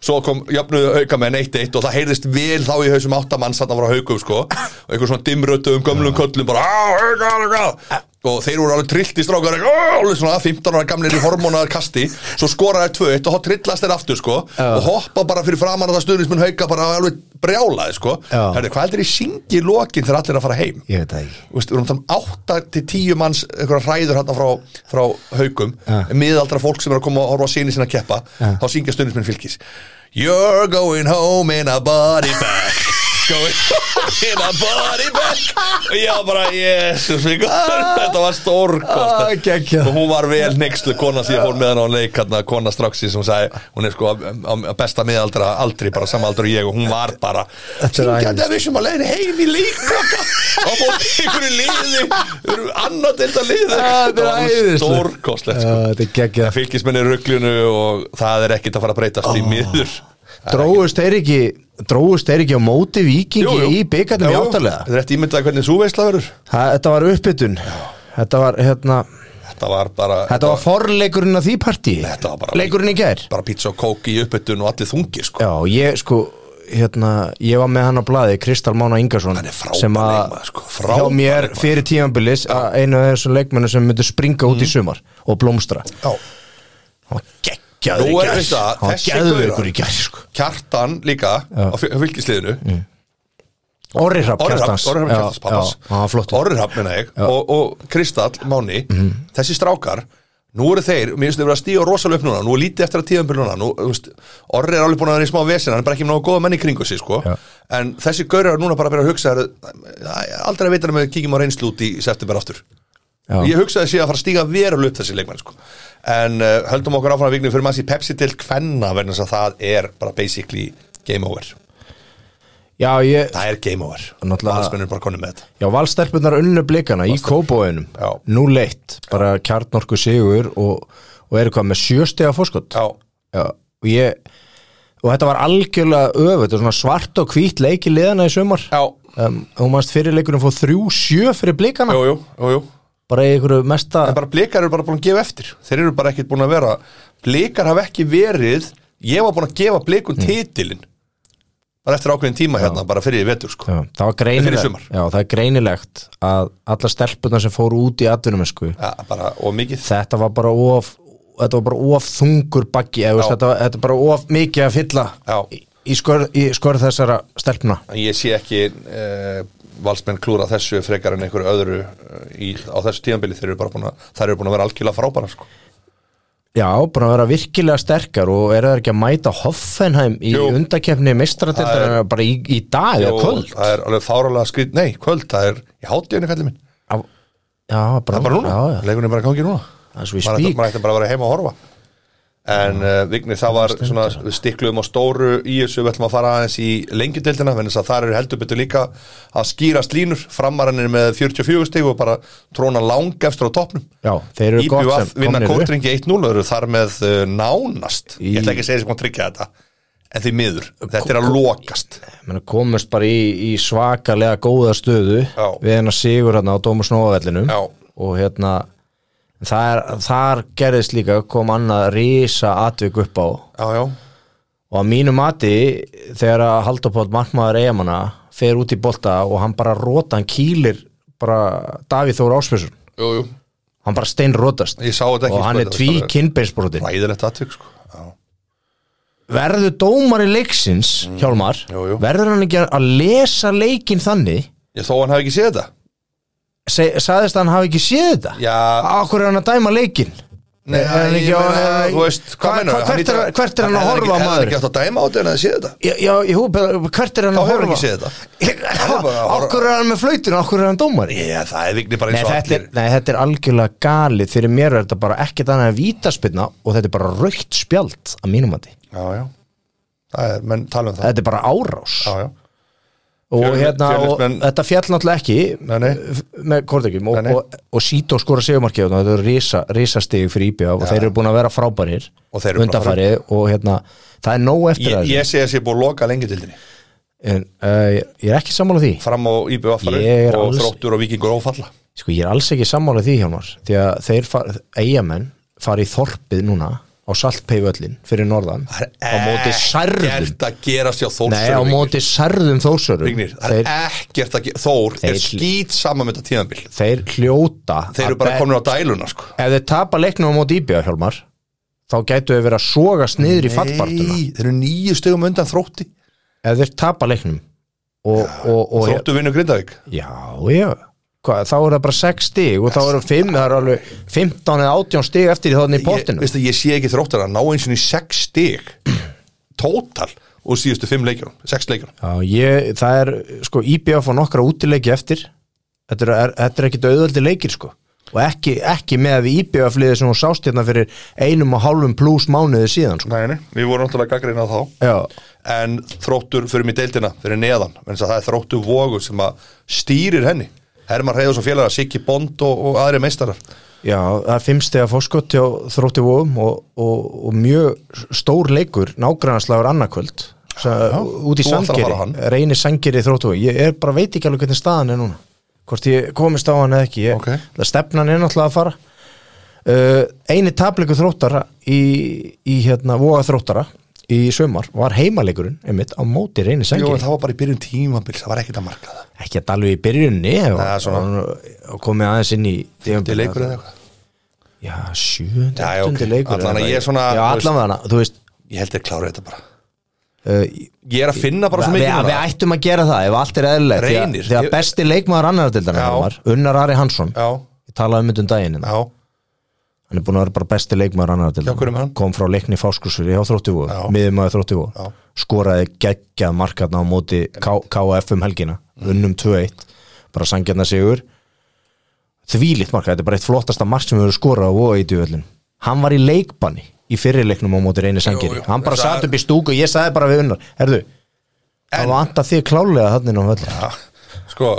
B: svo kom jöfnuðu auka með neitt eitt og það heyrðist vel þá í hausum áttamann sann að voru haukum sko og einhver svona dimrötu um gömlum köllum bara á, auka, auka og þeir voru alveg trillt í strákar "Á", alveg svona 15 ára gamlir í hormónaðar kasti svo skoraði tvö eitt og þá trillast þeir aftur sko og hoppa bara fyrir framan að það stuðnisminn hauka bara alveg brjálaði sko
C: Já.
B: Herri, hvað heldur ég syngi í lokin þegar allir eru að fara heim
C: ég veit það ekki
B: Þú veist, við erum að tala um 8 til 10 manns einhverja hræður hérna frá, frá haukum
C: Ja.
B: miðaldra fólk sem er að koma og horfa á síni sinna að keppa
C: Ja.
B: þá syngja stundismenn fylgis You're going home in a body bag Going home in a body bag og ég var bara, jesus minn góður, þetta var
C: Ah,
B: stórkost
C: geggjað.
B: og hún var vel nextlu kona sem ég fór með hann á leik hérna, kona straxi sem sagði, hún er sko á- á- á besta miðaldra aldri, bara samaldur og ég og hún var bara,
C: Þetta er æðislegt.
B: syngjandi að við sem að leiðin heim í líkbaka á móti einhverju liði eru annað delta liði
C: Ah, þetta er æðislegt.
B: stórkostlegt sko.
C: Já, þetta er geggjað.
B: Það fylgismenn er rugglunu og það er ekkit að fara að breytast í miður
C: Dróðust þeir ekki Dróðust þeir ekki á móti vikingi í byggarnum í áttalega
B: Þetta er rétt ímyndað hvernig þú veist lafur
C: Það- Þetta var uppbytun Þetta var hérna
B: Þetta var bara
C: Þetta var forleikurinn að því partí
B: Þetta var bara-
C: Leikurinn í gær
B: bara pizza og kók í uppbytun og allir þungir sko
C: Já, ég sko hérna, Ég var með hann á blaði, Kristal Mána Ingarsson
B: Hann er frábær
C: sem að
B: leikmaður, sko, frábær
C: hjá mér
B: leikmaður.
C: fyrir tímanbilis að einu af þessum leikmönnum sem myndi springa út í sumar og blómstra
B: Já.
C: Hann var geggjaður
B: Nú
C: í
B: er
C: gær
B: þetta-
C: Hann var
B: þessi
C: geggjaður
B: gaurar.
C: í gær sko.
B: Kjartan líka á fyl- fylgisliðinu
C: Orri Hrapp Mm. Kjartans
B: Orrihafn
C: Já,
B: Kjartans pappas
C: já, hann var flottur. Mhm.
B: Orrihafn minna ég og, og Kristall Máni þessi strákar Nú eru þeir, mér finnst þau verið að stíga rosalega upp núna, nú er lítið eftir að tíðanbyrja núna, nú, þú veist, Orri er alveg búin að vera í smá vesin, hann er bara ekki með nógu góða menni kringu sig, sko,
C: Já.
B: en þessi gaurar eru núna bara að byrja að hugsa, er, aldrei að vita um að við kíkjum á reynslu út í september aftur.
C: Já.
B: Ég hugsaði síðan að fara að stíga verulega upp þessi leikmenn, sko, en uh, höldum okkur áfram að vignu fyrir maður í Pepsi til kvenna, verðin þess að það er bara basically game over.
C: Já, ég,
B: Það er game over,
C: Náttúrulega-
B: valsmennur bara konum með þetta.
C: Já, valstelpunar unnu blikana í kóbóinum
B: Já.
C: Nú leitt, bara kjarnorku sigur og, og eru hvað með sjöstega fórskot
B: Já,
C: Já, og ég og þetta var algjörlega öfut og svona svart og hvít leiki liðana í sumar
B: já,
C: um, og mannst fyrirleikurinn fóð þrjú sjö fyrir blikana
B: jú, jú, jú, jú.
C: bara í einhverju mesta
B: En bara blikar eru bara búin að gefa eftir Þeir eru bara ekkert búin að vera Blikar hafa ekki verið Ég var búin að gefa blikun
C: Mm.
B: titilinn Bara eftir ákveðin tíma hérna, bara fyrir í vetur sko
C: já, það var
B: Fyrir
C: greinilegt
B: sumar.
C: já, það er greinilegt að alla stelpunar sem fóru út í atvinnum sko,
B: ja, bara, Og mikið
C: þetta var bara of þetta var bara of þungur baggi eða, þú veist,
B: Já.
C: þetta, var- þetta var bara of mikið að fylla
B: Já.
C: í, í skörð skör þessara stelpna
B: En Ég sé ekki uh, valsmenn klúra þessu frekar en einhverju öðru uh, í, á þessu tíðanbili þeir eru bara búin að þær eru búin að vera algjörlega frábæra sko.
C: Já, búin að vera virkilega sterkar og eru það ekki að mæta Hoffenheim í
B: Jú.
C: undakeppni meistratildar bara í, í dag eða
B: Og
C: kvöld
B: Það er alveg fáralega skrýt, nei, kvöld það er í hátíðinni kallið minn Það
C: Af- Já, bara,
B: er bara núna,
C: já, já.
B: leikunni er bara gangi núna
C: As we
B: maður ætti,
C: speak
B: maður ætti bara að vera heima að horfa en uh, Vigni það var svona, við stikluðum á stóru í þessu við ætlum að fara aðeins í lengjudeldina en þess að þar eru heldur betur líka að skýrast línur, framarinn er með 44 stig og bara tróna langefstur á topnum
C: Já, þeir eru gott
B: IBF
C: sem
B: vinna
C: komnir upp.
B: kótringi 1-0 og eru þar með uh, nánast
C: Í-
B: ég ætla ekki að segja sem að tryggja þetta en því miður, þetta er að lokast
C: Menna, komist bara í, í svakalega góða stöðu
B: Já.
C: við hennar sigur hérna á Dómus Nóavellinum
B: Já.
C: og hérna þar, þar gerðist líka kom annað risa atvik upp á
B: já, já,
C: og að mínu mati þegar að Haldopótt markmaður eigamanna fer út í bolta og hann bara róta, hann kýlir bara Davíð Þór Ásbjörnsson
B: jú, jú
C: hann bara stein rótast
B: ég sá þetta ekki
C: og hann er tví kynbeinsbrotin
B: ræðilegt aðtök sko já.
C: verður dómari leiksins Hjálmar,
B: Mm. Jú, jú.
C: verður hann ekki að lesa leikin þannig
B: ég þó hann hafi ekki séð þetta
C: seg, sagðist að hann hafi ekki séð þetta
B: já,
C: Akkur er hann að dæma leikin
B: Nei,
C: Er hann ekki
B: ég
C: á-
B: meina, þú veist, hvað
C: Hva-
B: meinarðu?
C: hva- hvert er-
B: hlýtur
C: hvert er hann að
B: hefði
C: horfa á
B: ekki- hefði
C: maður?
B: ekki átt að dæma á þetta en að sé þetta
C: Já, já, ég hú, bara, hvert er hann
B: Þá
C: að
B: hefur hann
C: horfa?
B: ekki séð þetta. er bara að horfa.
C: Okkur er hann með flöytun, okkur er hann dómari
B: Já, það er vignir bara
C: Nei
B: eins og
C: þetta, er,
B: allir
C: nei, þetta er algjörlega galið Fyrir mér er þetta bara ekkert annað en vítaspinna Og þetta er bara raukt spjald að mínum að
B: Já, já Það er, menn tala um það
C: Þetta er bara árás
B: Já, já
C: Og
B: Fjölnis-
C: hérna, og
B: Fjölnismenn-
C: þetta fjall náttúrulega ekki
B: Nei, nei.
C: f- Með kortekjum
B: Nei,
C: Og,
B: nei.
C: og, og Sító skora segumarkið Þetta eru risa, risastig fyrir IBA Og þeir eru búin að vera frábærir
B: Og þeir eru búin að fara
C: Undanfarið og hérna, það er nóg eftir
B: Ég,
C: það
B: ég segi að sé búið að loka lengi til þinni
C: En uh, ég- ég er ekki sammála því
B: Fram á IBF -ari
C: Ég er
B: og
C: alls-
B: þróttur og vikingur ófalla
C: Sko ég er alls ekki sammála því Hjálmar Því að þeir far, eigamenn fari í þorpið núna á saltpeiföllin fyrir norðan á móti særðum
B: Ekkert að gerast hjá Þór
C: Nei, á móti særðum þórsörum
B: Vignir, það
C: þeir,
B: er ekkert að gerast Þór er
C: Þeir-
B: skýt saman með þetta tíðanbíl
C: þeir hljóta
B: Þeir eru
C: að
B: bara
C: be-
B: komin á dæluna sko
C: Ef þeir tapa leiknum á móti íbjöða Hjálmar þá gætu þeir verið að sogast niður í fallbartuna
B: Nei, þeir eru nýju stegum undan þrótti
C: Ef þeir tapa leiknum og, og, og,
B: Þróttu vinnu Grindavík
C: Já, já Hva, þá er það bara 6 stig og þá eru 5, það eru alveg 15 eða 18 stig eftir því þannig í
B: ég,
C: pottinu
B: veistu, ég sé ekki þróttar að ná eins og í 6 stig Tótal úr síðustu 5 leikjum 6 leikjum
C: Já, ég, það er, sko, IBF á nokkra útileiki eftir Þetta er, er, þetta er ekkit auðvöldi leikir, sko Og ekki, ekki með að við IBF liðið sem hún sást hérna fyrir einum og hálfum pluss mánuði síðan, sko
B: Nei, nei, við vorum náttúrulega gaggrinna þá
C: Já,
B: En þróttur fyrir mig deildina fyrir neðan Menns að það er þróttu vogu sem að stýrir henni Herman Reyðus og félaga, Siggi Bond og, og aðri meistarar
C: já, það er fimmstega fórskott hjá þrótti vóum og, og, og mjög stór leikur, nágrannaslagur annarkvöld Sa, út í
B: þú ætlar að
C: sangeri,
B: fara á hann.
C: reyni sangeri þrótti vóum Ég er bara, veit ekki alveg hvernig staðan er núna Hvort ég komist á hann eða ekki ég,
B: Ókei.
C: það Stefnan er náttúrulega að fara uh, eini tapleiku þróttara í, í hérna voga þróttara í sömar var heimaleikurinn einmitt á móti reyni
B: Jú, en
C: sangir
B: það var bara í byrjun tímabils, það var ekkert að marka það
C: ekki að dalvi í byrjunni og,
B: Nei, svona.
C: og, og komið aðeins inn í
B: Til leikur eða eitthvað
C: já, sjöundi,
B: Já, já, ok.
C: áttundi leikur
B: Allan að
C: eða
B: ég
C: eitthvað.
B: svona-
C: já,
B: þú veist-
C: allan að þú veist
B: Ég held þeir klára þetta bara
C: uh,
B: Ég er að finna bara svo
C: við,
B: mikið
C: við,
B: núna.
C: ættum að gera það ef allt er eðlilegt því að-
B: Reynir.
C: því að
B: Ég-
C: besti leikmaður annar
B: Já.
C: var Unnar Ari Hansson
B: Já,
C: ég talaði um þetta um daginn hérna.
B: já,
C: hann er búin að vera bara besti leikmaður annar
B: Já, hverjum er hann?
C: kom frá leikni fáskursur hjá
B: Já.
C: þróttivóð miðum maður þróttivóð
B: Já.
C: skoraði geggjað markarna á móti K- KF um helgina
B: Mm.
C: unnum 2-1 bara sangjarna sigur þvílitt marka, þetta er bara eitt flottasta mark sem við höfum skorað á og eitt í öllin hann var í leikbanni í fyrirleiknum á móti reyni
B: Jú,
C: sangjarni,
B: jú.
C: hann bara
B: Það-
C: satt upp í stúku og ég sagði bara við unnar, herðu það vantar þig klálega þannig á öllin
B: já Sko,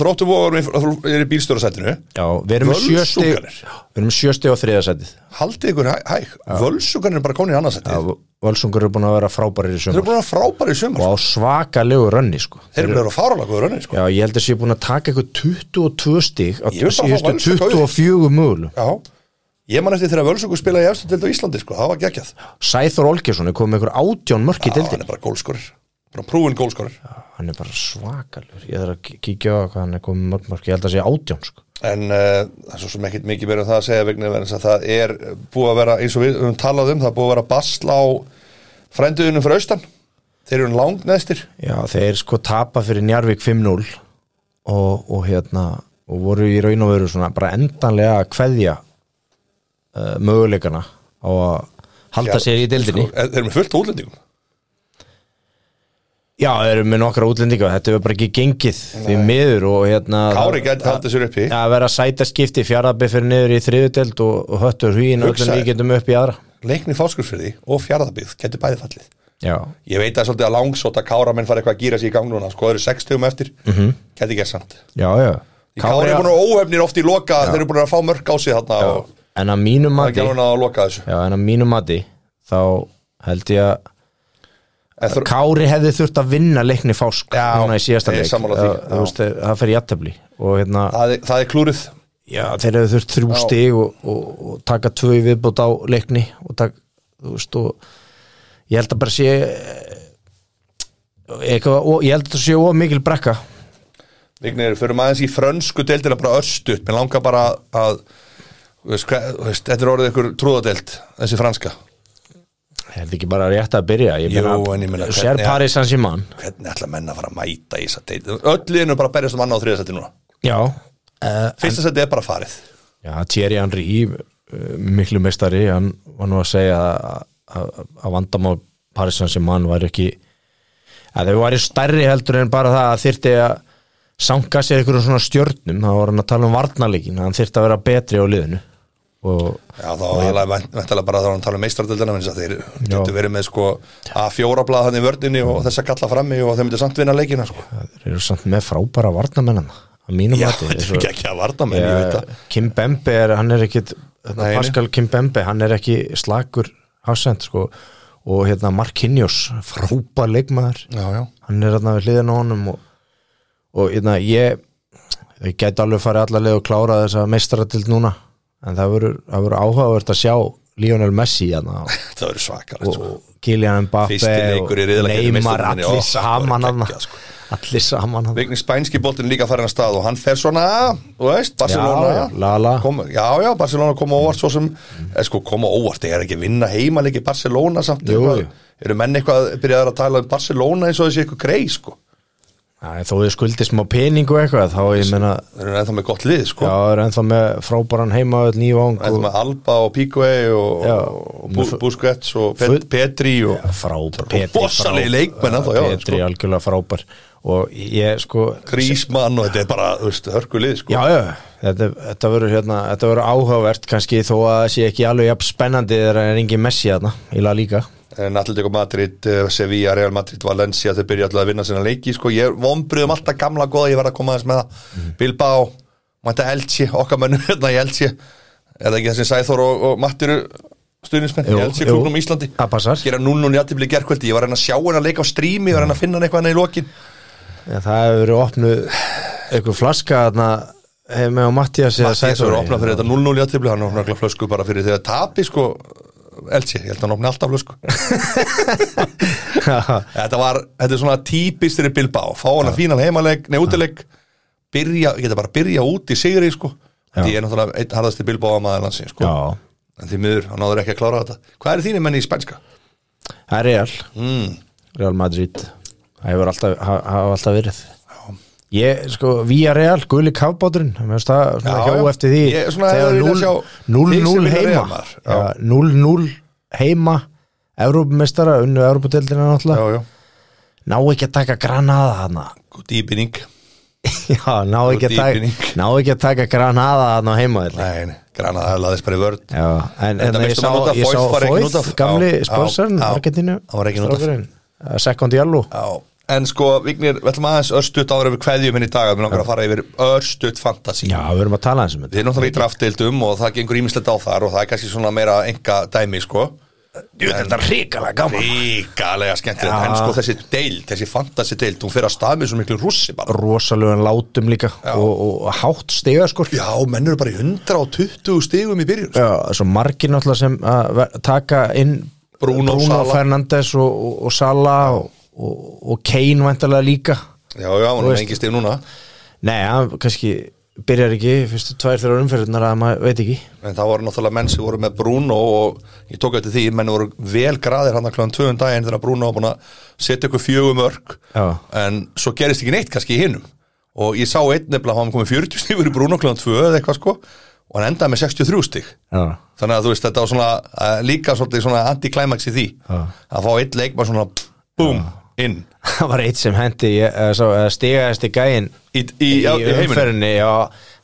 B: þróttu voru er í bílstjórasætinu
C: Já, við erum með sjö stig-
B: Völsungarnir.
C: við erum með sjösti á þriðasætið
B: Haldið ykkur hæ- hæg, völsugarnir er bara komin í annarsætti
C: Valsungur eru búin að vera frábærir í
B: Þeir
C: sumar
B: eru búin að vera frábæri í sumar
C: og á svakalegu rönni sko.
B: Þeir eru búin að vera fáralagur raunin sko.
C: Já, ég held að sé búin að taka eitthvað 22 stík á
B: Ég vil bara fá
C: síðustu
B: Valsung á
C: 24 mögulegum
B: Já, ég man eftir þegar Völsungur spilaði í efstu deild á Íslandi sko, það var geggjað
C: Sæþór Olgesson er komið með eitthvað 18 mörk
B: Já,
C: í
B: hann
C: dildin
B: er bara gólskorir, bara prúin gólskorir
C: Hann er bara svakalur Ég þarf að kí- kíkja á hvað hann er komið með mörg mörk Ég held að sé 18 sko.
B: En uh, það er svo sem ekkit mikið meira um það að segja vegna þess að það er búið að vera, eins og við höfum talað um, það er búið að vera basla á frænduðunum fyrir austan Þeir eru langneðstir
C: Já, þeir sko tapa fyrir Njarvík 5-0 og, og hérna og voru í raun og veru svona bara endanlega að kveðja uh, möguleikana á að halda
B: Já,
C: sér í dildinni
B: Eh, Þeir eru með fullt af útlendingum
C: Já, þeir eru með nokkra útlendinga Þetta hefur bara ekki gengið því miður og hérna
B: Kári gæti haldið sér uppi
C: Já, að vera sætaskipti fjaraðbi fyrir niður í þriðuteld og, og höttur hvíin öllum
B: Hugsaðu.
C: líkendum upp í aðra
B: Leikni fáskursfyrði og fjaraðabíð getur bæði fallið
C: Já,
B: Ég veit að svolítið að langsóta Kára menn fara eitthvað að gýra sér í gang núna sko, þeir eru 60 eftir, mm -hmm. getur gert samt
C: já, já
B: Í Kári er búin að óhefnir oft í loka þeir eru búin að fá mörg á sig þarna og
C: En að mínu
B: það er ekki
C: mati
B: alveg náð að loka þessu
C: Já, en að mínu mati þá held ég að
B: En þur-
C: Kári hefði þurft að vinna leikni fásk
B: Já,
C: núna í síðasta
B: ég er
C: leik
B: sammála því,
C: það,
B: já.
C: þú veist, það fer í aðtefli og hérna,
B: það er- það er klúrið
C: já, þeir hefðu þurft þrjú stig og, og, og taka tvö í viðbót á leikni og tak, þú veist og ég held að bara sé eh, eitthvað, og, ég held að það sé of mikil brekka
B: Vignir, förum aðeins í frönsku deildina bara örstuð, mér langar bara að þú veist, hver, veist, þetta er orðið ykkur trúðadeild, þessi franska
C: Er þetta ekki bara rétt að byrja? Ég
B: Jú,
C: meina,
B: en ég meina,
C: þú Sér
B: hvernig-
C: Paris Saint-Germain
B: hvernig ætla menn að fara að mæta í þessa deild öll liðinu bara berjast um annað og þriðasætti núna
C: Já uh,
B: fyrsta sætti er bara farið
C: Já, Thierry Henry uh, miklu meistari hann var nú að segja að- að að vandamál Parísan sem mann var ekki að þau væri stærri heldur en bara það að þyrfti að sanga sér einhverjum svona stjörnum þá var hann að tala um varnarleikin hann þyrfti að vera betri á liðinu og
B: Já, þá aðalega væntalega bara þá er hann að tala um meistardöldina minns að þeir getur verið með sko A4 blað hann í vördinni og þess að kalla frammi og þeir myndi samt vinna leikina sko.
C: þeir eru samt með frábæra varnamennana að mínum
B: Já,
C: mati.
B: þetta
C: Eins
B: er
C: og-
B: ekki ekki að varna menn, ég veit
C: Eh,
B: það
C: Kim Bembe er, hann er ekkit hérna,
B: Nei, nei.
C: Pascal Kim Bembe, hann er ekki slagur hafsend sko og hérna Marquinhos, frábær leikmaður
B: Já, já,
C: hann er hérna við hliðin á honum og, og hérna ég ég gæti alveg farið alla leið og klára þessa meistaratild núna en það verður það verður áhugavert að sjá Lionel Messi hérna og,
B: það verður svakar
C: og Kylian Mbappe
B: Sko, Fyrsti
C: og
B: leikur í riðlakeppni
C: Neymar
B: meistaradeildinni, ó,
C: allir
B: það verður
C: saman hann
B: geggjað, sko.
C: allir saman hann
B: Vigni spænski boltin líka farin að stað og hann fer svona, þú veist,
C: Já,
B: Barcelona
C: já, la, la.
B: Kom, já, já, Barcelona koma óvart svo sem, eða sko koma óvart ég er ekki að vinna heima líka í Barcelona samt
C: Jú,
B: eitthvað.
C: jú.
B: eru menn eitthvað byrjaðar að tala um Barcelona eins og þessi eitthvað grei sko,
C: Æ, þó þið skuldið smá pening og eitthvað þá
B: Sko,
C: ég meina
B: þeir eru ennþá með gott lið sko
C: Já, það er ennþá með frábæran heimavöld, nývang
B: ennþá
C: og
B: með Alba og Píkvei og,
C: Já.
B: og Bu- Busquets og Pet,
C: Full-
B: Petri og,
C: frábær,
B: rosalegi leikmenn ennþá, já,
C: Petri
B: sko.
C: algjörlega frábær og ég sko
B: Grísmann og þetta er bara, þú veist, hörkulið sko.
C: Já, já, þetta, þetta verður hérna, þetta verður áhugavert kannski þó að það sé ekki alveg jafn spennandi þegar það er engin Messi þarna, í La Liga
B: en Atletico Madrid, eh, Sevilla, Real Madrid Valencia, þau byrja alltaf að vinna sinna leiki sko. ég vombriðum alltaf gamla góða, ég verð að koma aðeins með það
C: Mhm.
B: Bilbao, mæta Elche okkar mönnum hérna í Elche eða ekki þessi Sæþór og, og Mattiru stuðnismenn,
C: Jú,
B: í Elche
C: jú.
B: klubnum í Íslandi
C: Það passar.
B: gera 0-0 í aðtifli gerkvöldi, ég var að reyna að sjá henn að leika á strími, ég var að reyna að finna henn eitthvað henn í lokin
C: en það hefur verið opnuð einhver flaska þarna hefur með á Mattias eða
B: Mattias verður
C: Sæþóri.
B: að opna fyrir þetta 0-0 í aðtifli hann opna ekki flösku bara fyrir þegar tapi sko, Elche, ég held að hann opna alltaf flösku Þetta var, þetta er svona típist fyrir Bilbao, fá hana fínan heimaleg nei útileg, byrja geta bara byrja út í sigri sko því ég er náttúrulega einn harðasti Bilbao að maður landsin sko.
C: Já,
B: en því miður, hann áður ekki að klára þetta Hvað eru þínir menni í spænska? Hmm.
C: það er Real Real Madrid það hefur alltaf, ha- hafa alltaf verið ég, sko, vía Real guli kafbáturinn, mér finnst það svona
B: Já,
C: hjá
B: já.
C: eftir því
B: Ég- svona hefði viljað sjá þig sem
C: 0-0
B: vilja Real
C: heima
B: maður. Já.
C: Já, 0-0 heima Evrópumestara, unnu Evrópudeldina náttúrulega
B: Já, já,
C: ná ekki að taka Granada hana
B: gúti íbynning
C: já, ná ekki að taka
B: dýpining.
C: ná ekki að taka Granada hana á heima
B: Nei, nei, Granada laðist bara í vörd
C: já, en,
B: Þetta
C: en ég
B: mistum
C: sá,
B: að nota Foyth
C: ég sá
B: var ekki notað.
C: Foyth, gamli
B: Já, já,
C: spórsarinn
B: já.
C: Argentínu,
B: Hann var ekki notað.
C: strákurinn. Eh, second yellow
B: Já, en sko, Vignir, við ætlum aðeins örstutt ára yfir kveðjum henni í dag, við langar að fara yfir örstutt fantasi
C: já, við erum að tala eins um þetta
B: Við erum náttúrulega í draftdeildum og það gengur ímislegt á þar og það er kannski svona meira enga dæmi sko Jú, þetta er ríkalega gaman Ríkalega skemmtilegt,
C: Já.
B: en sko þessi deild, þessi fantasi deild, hún fer að stað með svo miklu russi bara
C: rosalega látum líka og, og hátt stiga sko
B: Já, menn eru bara í 120 stigum í byrjun sko.
C: svo margir náttúrulega sem að ver- taka inn
B: Bruno Sala.
C: Fernandes og, og, og Sala og, og, og Kane væntalega líka
B: Já, já, hann
C: Þú
B: er
C: veist-
B: engi stig núna
C: nei, hann kannski byrjar ekki fyrstu tvær þeirra umferðunar að maður veit ekki
B: En það voru náttúrulega menn sem voru með Bruno og ég tók eftir því, menn voru vel graðir hann að klöðan tvöðum um daginn þegar Bruno var búin að setja ykkur fjögum örk
C: Já.
B: en svo gerist ekki neitt kannski í hinnum og ég sá einn nefnilega að hann komið 40 stífur í Bruno klöðan tvö eða eitthvað sko og hann endaði með 63 stík
C: já,
B: þannig að þú veist þetta var svona eh, líka svolítið svona anti-climax í því
C: Já.
B: að fá einn leikmann svona búm, inn
C: það var eitt sem hendi stigaðist í gæin
B: í, í, í,
C: í
B: í heiminum
C: umferðinni já,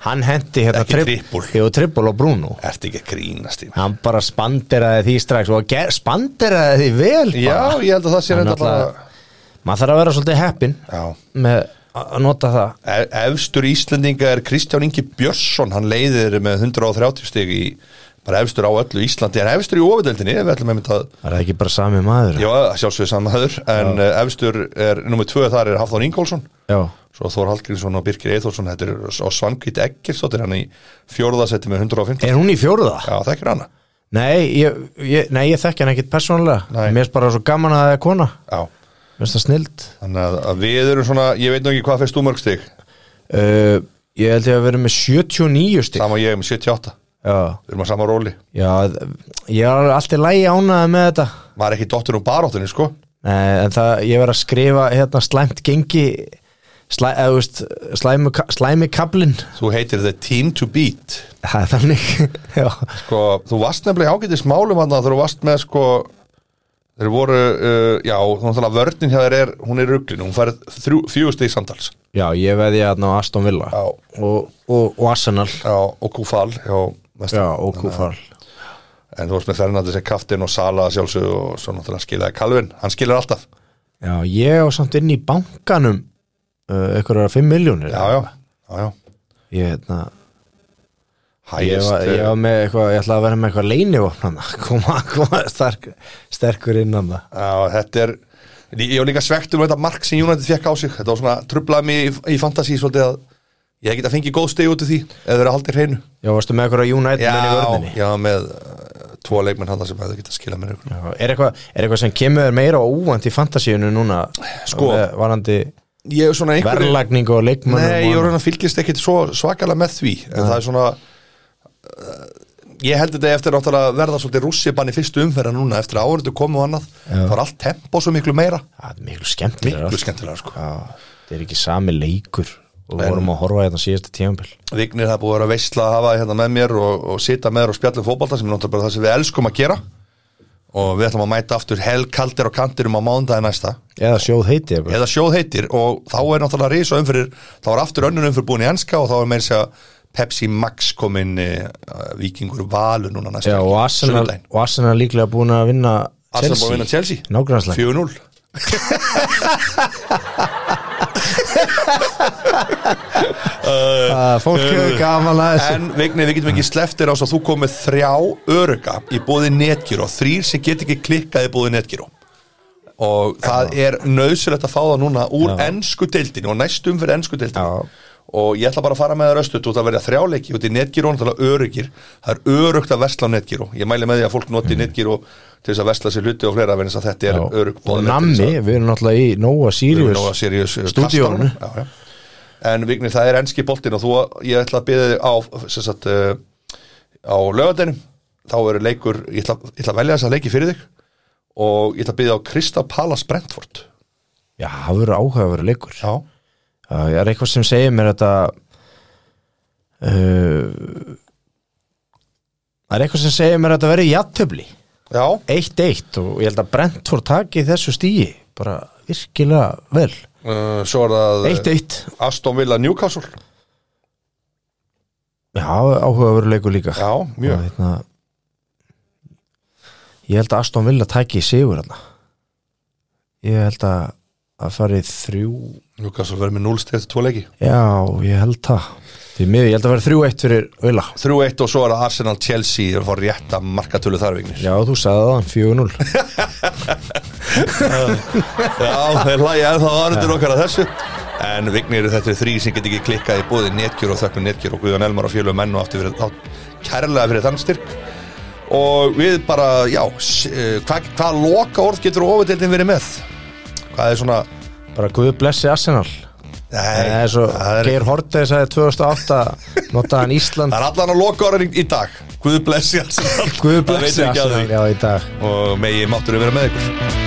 C: hann hendi hérna
B: Ekki triple.
C: og trippul og Bruno
B: Ertu ekki að grínast í
C: hann bara spanderaði því strax og ger, spanderaði því vel bara.
B: Já, ég held að það sé
C: Hann
B: reynda alltaf
C: náttúrulega- maður þarf að vera svolítið heppin
B: Já.
C: með að að nota það
B: E- Efstur Íslendinga er Kristján Ingi Björnsson hann leiðir með 130 stig í bara efstur á öllu Íslandi en efstur í ofadeldinni, við ætlum einmitt að
C: var það ekki bara sami maður
B: já, sjálfsögðu samaður, en já. efstur er, nummið tvö þar er Hafþón Ingólfsson
C: Já.
B: svo Þór Hallgrímsson og Birgir Eithorsson þetta er og Svangvít Eggersdóttir hann í fjórðasetti með 150
C: er hún í fjórða?
B: já, þekkir hana
C: Nei, ég, ég, nei, ég þekki hann ekkit persónulega
B: Nei.
C: mér er bara svo gaman að það er kona
B: já,
C: mér finnst það snild
B: þannig að, að við erum svona ég veit nú ekki hvað fyrst þú mörg stig
C: uh, ég held ég að vera með 79 stig
B: sama ég með 78,
C: já,
B: við erum að sama róli
C: já, ég er alveg alltaf lægi ánaði með þetta
B: maður er ekki dottur um baróttunni sko
C: Nei, en það, ég verð að skrifa hérna slæmt gengi slæ, eða, þú veist, slæmi, slæmi kablin
B: Þú heitir The Team to Beat
C: það er þannig já,
B: sko, Þú varst nefnilega ágætis málum hann þegar þú varst með sko Þeir voru, uh, já, þú náttúrulega vörnin hjá þér er, hún er rugglin, hún færð fjögustið samtals.
C: já ég veði að ná Aston Villa
B: Já.
C: og, og, og Arsenal
B: Já, og Kúfal, já, mest,
C: já, og Kúfal
B: en þú varst með Fernandes sem kaftin og Sala að sjálfsögðu og svo náttúrulega skilaði Kalvin, hann skilur alltaf.
C: já, ég á samt inn í bankanum uh, einhverjar 5 miljónir
B: Já, já, já, já.
C: ég, hérna, ég,
B: Hægist,
C: var, ég var með eitthvað, ég ætlaði að vera með eitthvað leinivopnana, koma, koma sterk, sterkur innan það
B: Já, þetta er Ég var líka svegt um þetta mark sem United fekk á sig Þetta var svona, trublaði mig í, í fantasí svolítið að ég hef geta fengið góð stegi út af því eða verið að halda í hreinu
C: já, varstu með eitthvað United menn í vörðinni
B: já, með uh, tvo leikmenn handa sem hefðu getað skilað mér ykkur
C: Já, er eitthvað, er eitthvað sem kemur þér meira á óvænt í fantasíunum núna
B: Sko.
C: með varandi
B: Ég er svona einhverju
C: verðlagningu og leikmönnum
B: Nei, ég
C: og annað?
B: var hann að fylgist ekkit svo svakalega með því en það er svona uh, Ég held þetta eftir náttúrulega að verða svolítið rússibann í fyrstu umferða núna eftir að áhverju komu og annað
C: Já.
B: Það er allt tempo svo miklu meira
C: Það er miklu skemmtilega
B: hérna- Miklu skemmtilega sko
C: Það er ekki sami leikur og
B: En-
C: vorum að horfa hérna síðasta tíðanbel
B: Vignir það er búið að vera veistla að hafa þig hérna með mér og, og sita með þér og spjallum fótbalta sem er náttúrulega bara það sem við elskum að gera og við ætlum að mæta aftur helkaldir og kantir um á mándagi næsta
C: eða sjóð heiti eitthvað
B: eða sjóð heitir og þá er náttúrulega risa umfyrir þá er aftur önnur umfyrir búin í enska og þá er meira sér að Pepsi Max komin uh, vikingur valu núna næsta
C: Já, og
B: helgi,
C: Arsenal,
B: sunnudaginn.
C: og Arsenal líklega búin að vinna
B: Arsenal búin að vinna Chelsea
C: Nágrannsleik.
B: 4-0
C: að Ah, fólk hefur gaman að þessu
B: En Vigni, við getum ekki sleftir á þess að þú komið þrjá öruga í bóði netgyró Þrýr sem get ekki klikkað í bóði netgyró Og það er nöðsilegt að fá það núna úr
C: Já.
B: ennsku deildinu og næstum fyrir ennsku deildinu
C: Já.
B: Og ég ætla bara að fara með það röstuð út að verja þrjáleiki út í netgyró náttúrulega örugir Það er örugt að versla á netgyró Ég mæli með því að fólk noti mm. netgyró til þess að versla sér hluti og fleira Vegna þess að þetta
C: Mhm. Já,
B: er örug
C: og Nammi, við erum náttúrulega í Nóa
B: Nóa
C: Sirius
B: Sirius uh,
C: stúdíóinu.
B: kastaranum. Já, já. En Vigni, það er enski boltinn og þú, ég ætla að byrja þig á sem sagt, uh, á lögadeinum þá eru leikur, ég ætla, ég ætla að velja þess að leiki fyrir þig og ég ætla að byrja þig á Krista Palas Brentford
C: Já, það verður áhuga að vera leikur
B: Já,
C: Það er eitthvað sem segir mér þetta uh, Það er eitthvað sem segir mér að þetta verið játtöfli
B: já,
C: 1-1 og ég held að Brentford taki þessu stíi bara virkilega vel
B: uh, svo er það
C: 1-1
B: Aston Villa Newcastle
C: Já, áhuga að vera leikur líka
B: Já,
C: Og
B: mjög
C: hérna, Ég held að Aston Villa taki sigur hérna Ég held að að farið þrjú
B: Newcastle verður með 0 stegið til tvo leiki
C: Já, ég held það Því miður, ég held að vera þrjú eitt fyrir Villa
B: 3-1 og svo er það Arsenal Chelsea ég er að fá rétta markatölu þar Vigni
C: Já, þú sagði það, 4-0
B: Já, þeir hlæja ennþá aðröndur okkar að þessu En Vignir, þetta er þrý sem get ekki klikkað í bóði netgjur og þökkum netgjur og Guðan Elmar og fjölum menn og aftur fyrir þá kærlega fyrir þann styrk Og við bara, já, s- eh, hvað hva loka orð getur ofadeildin verið með? Hvað er svona,
C: Bara Guð blessi Arsenal
B: nei,
C: Það er svo,
B: það er,
C: Geir Horte sagði 2008 notaðan Ísland
B: það er allan að loka orðin í dag Guð blessi alls
C: Guð blessi Arsenal
B: Arsenal
C: Já, í dag
B: Og megi máttur við vera með ykkur